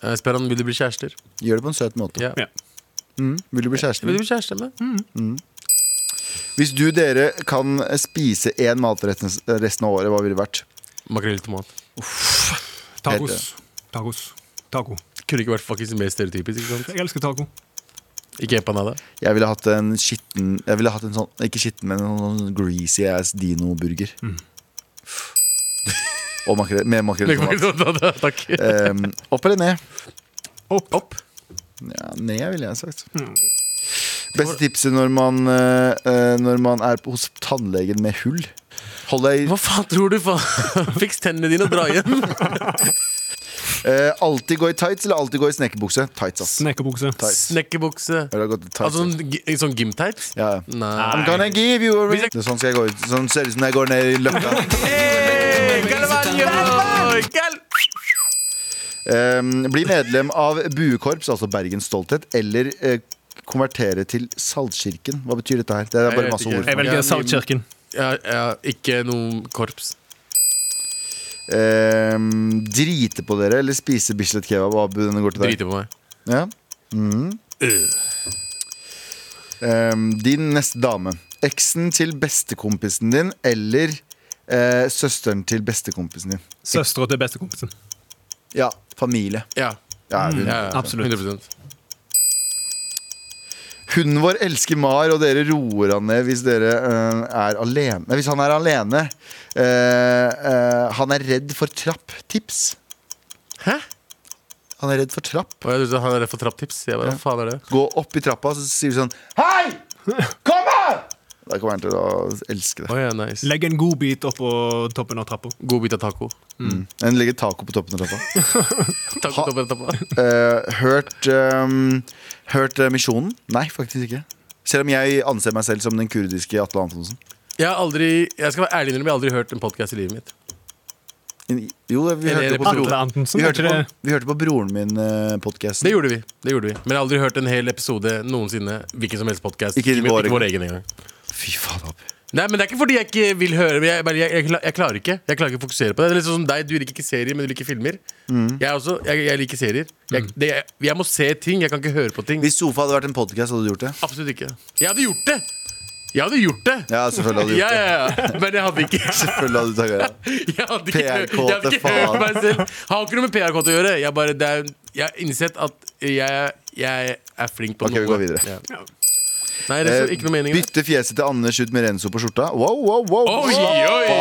Eh, Spør han vil du bli kjærester. Gjør det på en søt måte. Ja. Ja. Mm, vil du bli kjærester? Vil du bli kjæreste med? Hvis du dere kan spise én matrett resten av året, hva ville det vært? Makrell i tomat. Tacos. Tacos. Taco. Kunne ikke vært fuckings mer stereotypisk. Ikke sant? Jeg elsker taco. Ikke empanada. Jeg ville hatt en skitten Jeg ville hatt en sånn, ikke skitten, men en sånn greasy ass dino-burger. Og makrell, med makrell i tomat. Takk. Em, opp eller ned? Opp. Opp. Ja, ned ville jeg sagt. Beste tipset når man, eh, eh, når man er på- hos tannlegen med hull. Hold deg Hva faen tror du, faen? Fiks tennene dine og dra hjem. Eh, alltid gå i tights eller alltid gå i snekkerbukse? Tights, ass. Snekkerbukse. Tights. Snekkerbukse. Eller gå i tights, Altså ass. sånn, gi- sånn gymtights? Ja, ja. Nei. I'm gonna give you a ring. Hvis jeg- Det er sånn skal jeg gå ut. Sånn ser det ut som når jeg går ned i løkka. Hey, Galvano! Gal Eh, bli medlem av Buekorps, altså Bergens Stolthet, eller eh, konvertere til Saltkirken. Hva betyr dette her? Det er Jeg bare vet masse ikke. ord. Jeg Jeg velger velger Saltkirken. ja, ja, ikke noe korps. Eh, drite på dere eller spise Bislett kebab? Hva bud denne går til deg? Driter på meg. Ja. Mhm. Ehm, din neste dame. Eksen til bestekompisen din eller eh, søsteren til bestekompisen din. Søstera til bestekompisen. Ja, familie. Ja. Ja, hun. Ja, ja, Absolutt. 100 Hunden vår elsker Mar, og dere roer han ned hvis dere eh, er alene. Nei, hvis han er alene. Eh, eh, han er redd for trapp. Tips. Hæ? Han er redd for trapp. Og jeg, trodde han er redd for trapptips. Jeg bare, hva faen er det? Gå opp i trappa, så sier du sånn Hei! Kom her! Da kommer han til å elske det. Å ja, nice. Legg en god bit oppå toppen av trappa. God bit av taco. Han legger Mm. taco på toppen av trappa. Taco, taco, taco. Eh, hørt ehm, Hørt eh, Misjonen? Nei, faktisk ikke. Selv om jeg anser meg selv som den kurdiske Atle Antonsen. Jeg har aldri, jeg skal være ærlig innrømme, jeg har aldri hørt en podkast i livet mitt. In- Jo, vi Er det hørte på, Atle broren- Antonsen? vi er hørte ikke på, det- vi hørte på broren min uh, podkast. Det gjorde vi. det gjorde vi Men jeg har aldri hørt en hel episode noensinne. Hvilken som helst podcast Ikke min- vår ikke vår egen engang. Fy faen opp. Nei, men Det er ikke fordi jeg ikke vil høre, men jeg, bare, jeg, jeg, kla- jeg klarer ikke Jeg klarer ikke å fokusere på det. Det er litt sånn som deg, Du liker ikke serier, men du liker filmer. Mm. Jeg også, jeg, jeg liker serier. Jeg, det, jeg, jeg må se ting. Jeg kan ikke høre på ting. Hvis Sofa hadde vært en podkast, hadde du gjort det? Absolutt ikke. Jeg hadde gjort det! Jeg hadde gjort det! Ja, selvfølgelig hadde du Ja, gjort det. ja, ja. Men jeg hadde ikke. Selvfølgelig hadde du takket ja. Jeg hadde ikke, PRK jeg hadde ikke til faen. hørt meg selv. Har ikke noe med PRK til å gjøre. Jeg, bare, det er, jeg har innsett at jeg, jeg er flink på Ok, vi noe. går videre. Eh, Ja. Nei, det er ikke noe mening. i det. Bytte fjeset til Anders ut med Renzo på skjorta. Wow, wow, wow. Oi, oi!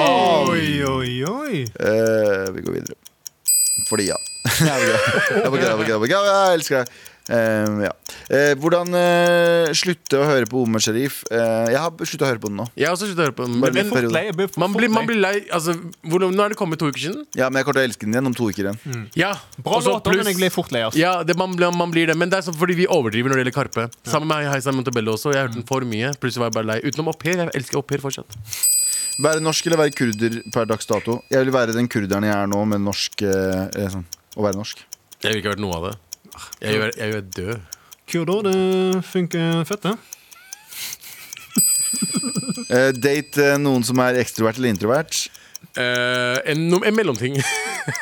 Oi, oi, oi. Eh, vi går videre. Fordi ja. Jeg bare kødder, jeg bare kødder, jeg bare kødder, jeg bare kødder. Jeg elsker deg. Eh, ja. Eh, hvordan eh, slutte å høre på Omer Sharif? Eh, jeg har sluttet å høre på den nå. Jeg har også sluttet å høre på den. Bare Men, litt for- men Fort lei, jeg blir fort man, blir, man lei. blir lei. Altså, hvor, nå er det kommet to uker siden. Ja, Men jeg kommer til å elske den igjen om to uker. igjen Ja, Bra og så låter, men pluss- jeg blir fort lei. Altså. Ja, det, man, blir- man blir det. Men det er sånn fordi vi overdriver når det gjelder Karpe. Sammen med Heisan Montebello også. Jeg hørte den for mye. Plutselig var jeg bare lei. Utenom au pair. Jeg elsker au pair fortsatt. Være norsk eller være kurder per dags dato? Jeg vil være den kurderen jeg er nå, men norsk eh, eh, sånn. Å være norsk. Jeg vil ikke ha hørt noe av det. Jeg vil være- jeg vil være død. Kurder, det funker fett, det. Eh, date eh, noen som er ekstrovert eller introvert. Eh, en, no- en mellomting.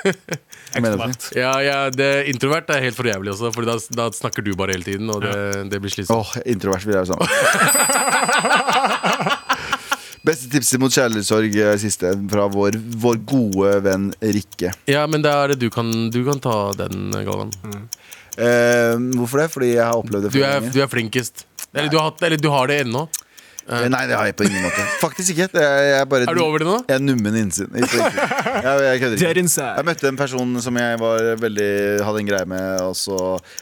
Ekstrovert. ja, ja, det Introvert er helt for jævlig også, Fordi da, da snakker du bare hele tiden, og det, det blir slitsomt. Åh, introvert vil jeg være sammen Beste tipset mot kjærlighetssorg eh, siste fra vår, vår gode venn Rikke. Ja, men det er det du kan Du kan ta den, Galvan. Mm. Eh, hvorfor det? Fordi jeg har opplevd det Du for er, lenge. du er flinkest. Eller du, har, hatt- eller du har det ennå. Eh, Nei, det har jeg på ingen måte. Faktisk ikke. Det er, jeg er, bare, Er du over det nå? Jeg er nummen innsiden. Ikke- ikke. Jeg, jeg kødder Dead ikke. inside. Jeg møtte en person som jeg var veldig, hadde en greie med, og så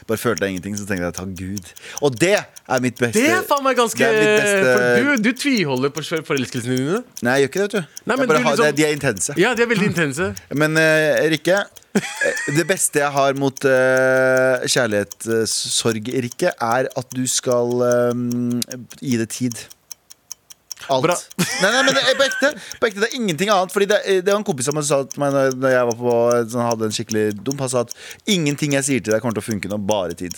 bare følte jeg ingenting. Så tenkte jeg takk Gud. Og det er mitt beste. Det er faen meg ganske Det er mitt beste- For du, du tviholder på selv- forelskelsene dine. Nei, jeg gjør ikke det, vet du. Nei, men jeg bare du har, liksom- det- De er intense. Ja, de er veldig intense. Men eh, Rikke, eh, det beste jeg har mot eh, kjærlighetssorg, Rikke, er at du skal eh, gi det tid. Alt. Bra. Nei, nei, men det er på ekte, på ekte. Det er ingenting annet. Fordi det, det var en kompis som sa til meg da da jeg var på, sånn, hadde en skikkelig dump, han sa at ingenting jeg sier til deg, kommer til å funke nå. Bare tid.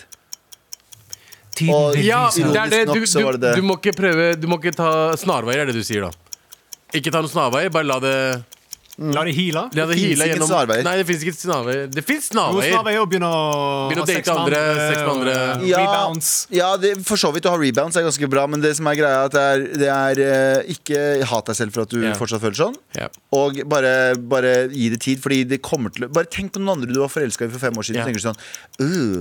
Og Ja, det er det. ironisk Du, nok så var du, det du det. må ikke prøve Du må ikke ta snarveier, er det du sier da. Ikke ta noen snarveier, bare la det La det heale. La det, Det finnes hile ikke gjennom snarveier. Nei, det fins ikke snarveier. Det fins Nå snarveier! snart er jeg å begynne å Begynne å ha sex date med andre, sex med andre. og, eh, Ja, Rebounds. ja det, for så vidt. Å ha rebounds er ganske bra, men det som er greia, er at det er, det er eh, ikke hat deg selv for at du Ja. fortsatt føler sånn. Ja. Og bare, bare gi det tid, fordi det kommer til å- Bare tenk på noen andre du var forelska i for fem år siden. Ja. Tenker du sånn,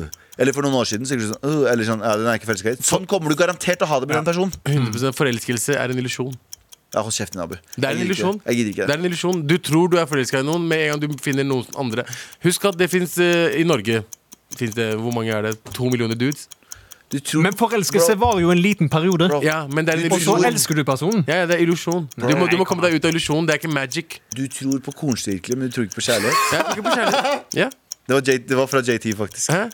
«Øh». Eller for noen år siden. så Tenker du sånn, «Øh», eller sånn, ja, den er jeg ikke forelska i. Sånn kommer du garantert til å ha det med den personen. 100 Forelskelse er en illusjon. Ja, Hold kjeften din, Abu. Det er en Jeg gidder ikke illusjon. Jeg gidder ikke Det er en illusjon. Du tror du er forelska i noen, med en gang du finner noen andre. Husk at det fins i Norge finnes det, Hvor mange er det? To millioner dudes? Du tror, Men forelskelse Bro, varer jo en liten periode. Bro. Ja, men det er en Og så illusjon. elsker du personen. Ja, ja, det er illusjon. Du må, du må komme deg ut av illusjonen. Det er ikke magic. du tror på kornstirkler, men du tror ikke på kjærlighet. Jeg tror ikke på kjærlighet. Ja. Det var, J det var fra JT, faktisk. Hæ?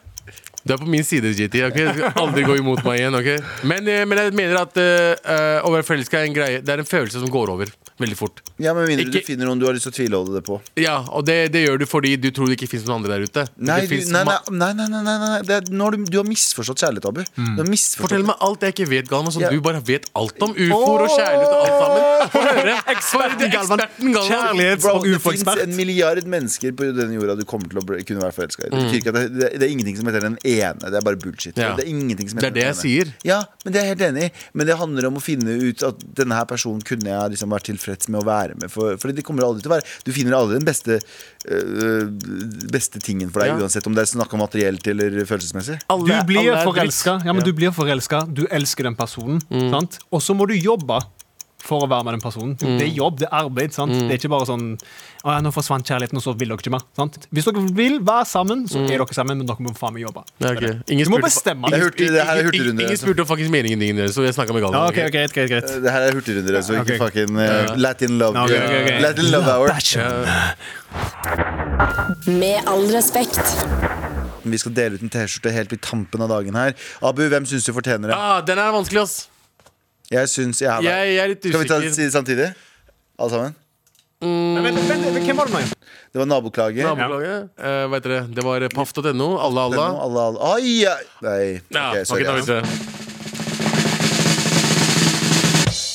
Du er på min side, JT. ok? Du skal aldri gå imot meg igjen. ok? Men, eh, men jeg mener at eh, eh, å være forelska er en greie. Det er en følelse som går over veldig fort. Ja, Med mindre Ikke- du finner noen du har lyst til å tviholde det på. Ja, Og det, det gjør du fordi du tror det ikke fins noen andre der ute. Nei, det du, finnes nei, nei, ma- Mm. nei, nei, nei, nei, nei. Det er, nå har du, du har misforstått kjærlighet, Abu. Du har misforstått Fortell meg alt jeg ikke vet, Galvan, som Ja. du bare vet alt om. Ufoer og kjærlighet og alt sammen. Få høre. Eksperten Galvan. Eksperten Galvan. Kjærlighets- Bro, og det fins en ufoekspert. milliard mennesker på denne jorda du kommer til å bli, kunne være forelska i. Det, betyr ikke at det, det er ingenting som heter den ene. Det er bare bullshit. Ja. Det er ingenting som Det er heter det den jeg ene. sier. Ja, men det er jeg helt enig i. Men det handler om å finne ut at denne her personen kunne jeg liksom vært tilfreds med å være med. For, fordi det kommer aldri til å være Du finner aldri den beste, øh, beste tingen for deg, Ja. uansett om det er snakk om materielt eller følelsesmessig. Alle- Du blir alle er dritt. forelska. Ja, men du blir forelska. Du elsker den personen. Mm. Sant? Og så må du jobbe for å være med den personen. Mm. Det er jobb, det er arbeid. Sant? Det er ikke bare sånn Å ja, nå forsvant kjærligheten, og så vil dere ikke mer. Sant? Hvis dere vil være sammen, så er dere sammen, men dere må faen meg jobbe. Mm. Ja, ok. Ingen Du må spurte- bestemme Jeg deg. hørte, det her er hurtigrunde. Ingen altså. spurte om faktisk meningen din, så jeg snakka med Galvan. Ja, ok? Ah, ok, ok, greit, greit, greit. Det her er hurtigrunder, så ikke ok. fucking øh, Latin love. Ok, ok, ok. Latin love hour. Med all respekt. Vi skal dele ut en T-skjorte helt i tampen av dagen her. Abu, hvem syns du fortjener det? Ah, den er vanskelig, ass. Jeg syns jeg er der. Jeg, jeg er litt Skal vi ta usikker. si det samtidig? Alle sammen? Mm. Men, men, men hvem var det nå? igjen? Det var naboklager. Nabolaget. eh, hva heter det? Det var paff.no. Alle, Alle, alle. alle, alle. Ai, ai. Nei. Ja, Ok, sorry. ok, da vet dere.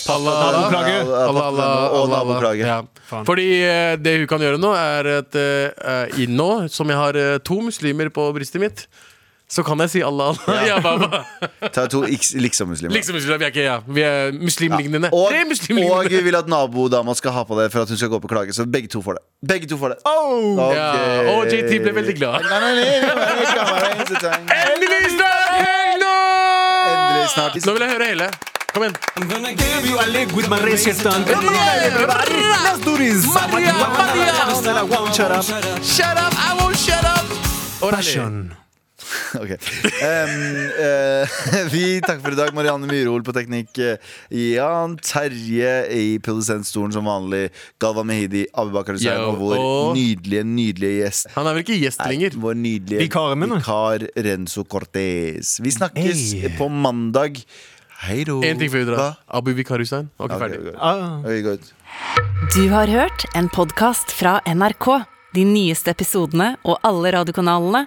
Alla, alla, Naboklager. alla, alla, Og alla, naboklager. Ja. Fordi eh, det hun kan gjøre nå, er at eh, i nå som jeg har eh, to muslimer på brystet mitt, så kan jeg si Allah, Allah. Ja. baba. Ta to x- liksom-muslimer. liksom muslimer, vi er ikke ja. Vi er muslimlignende. Og, Tre og muslimlignende. vi vil at nabodama skal ha på det for at hun skal gå på klage. Så begge to får det. Begge to får det. Ok. Ja, og JT ble veldig glad. Nei, nei, nei, nei, nei, nei, nei, nei, nei, nei, nei. Endelig snart helg nå! Endelig snart. Nå vil jeg høre hele. Kom igjen. Maria, Maria. Shut up, I won't shut up. Og det er det. Ok. Em, eh, vi takker for i dag. Marianne Myrhol på teknikk. eh, Jan Terje i produsentstolen som vanlig. Galvan Mehidi, Abubakar Hussein Yo, og vår og- nydelige, nydelige gjest. Han er vel ikke gjest lenger. Vår nydelige Vikaren min, da. vikar Renzo Cortez. Vi snakkes Hey. på mandag. Hei då. En ting før vi Hva? drar. Abu Vikar Hussein. Ok, Ok, ferdig. vi går. Ah. Ok, vi går ut. Du har hørt en podkast fra NRK. De nyeste episodene og alle radiokanalene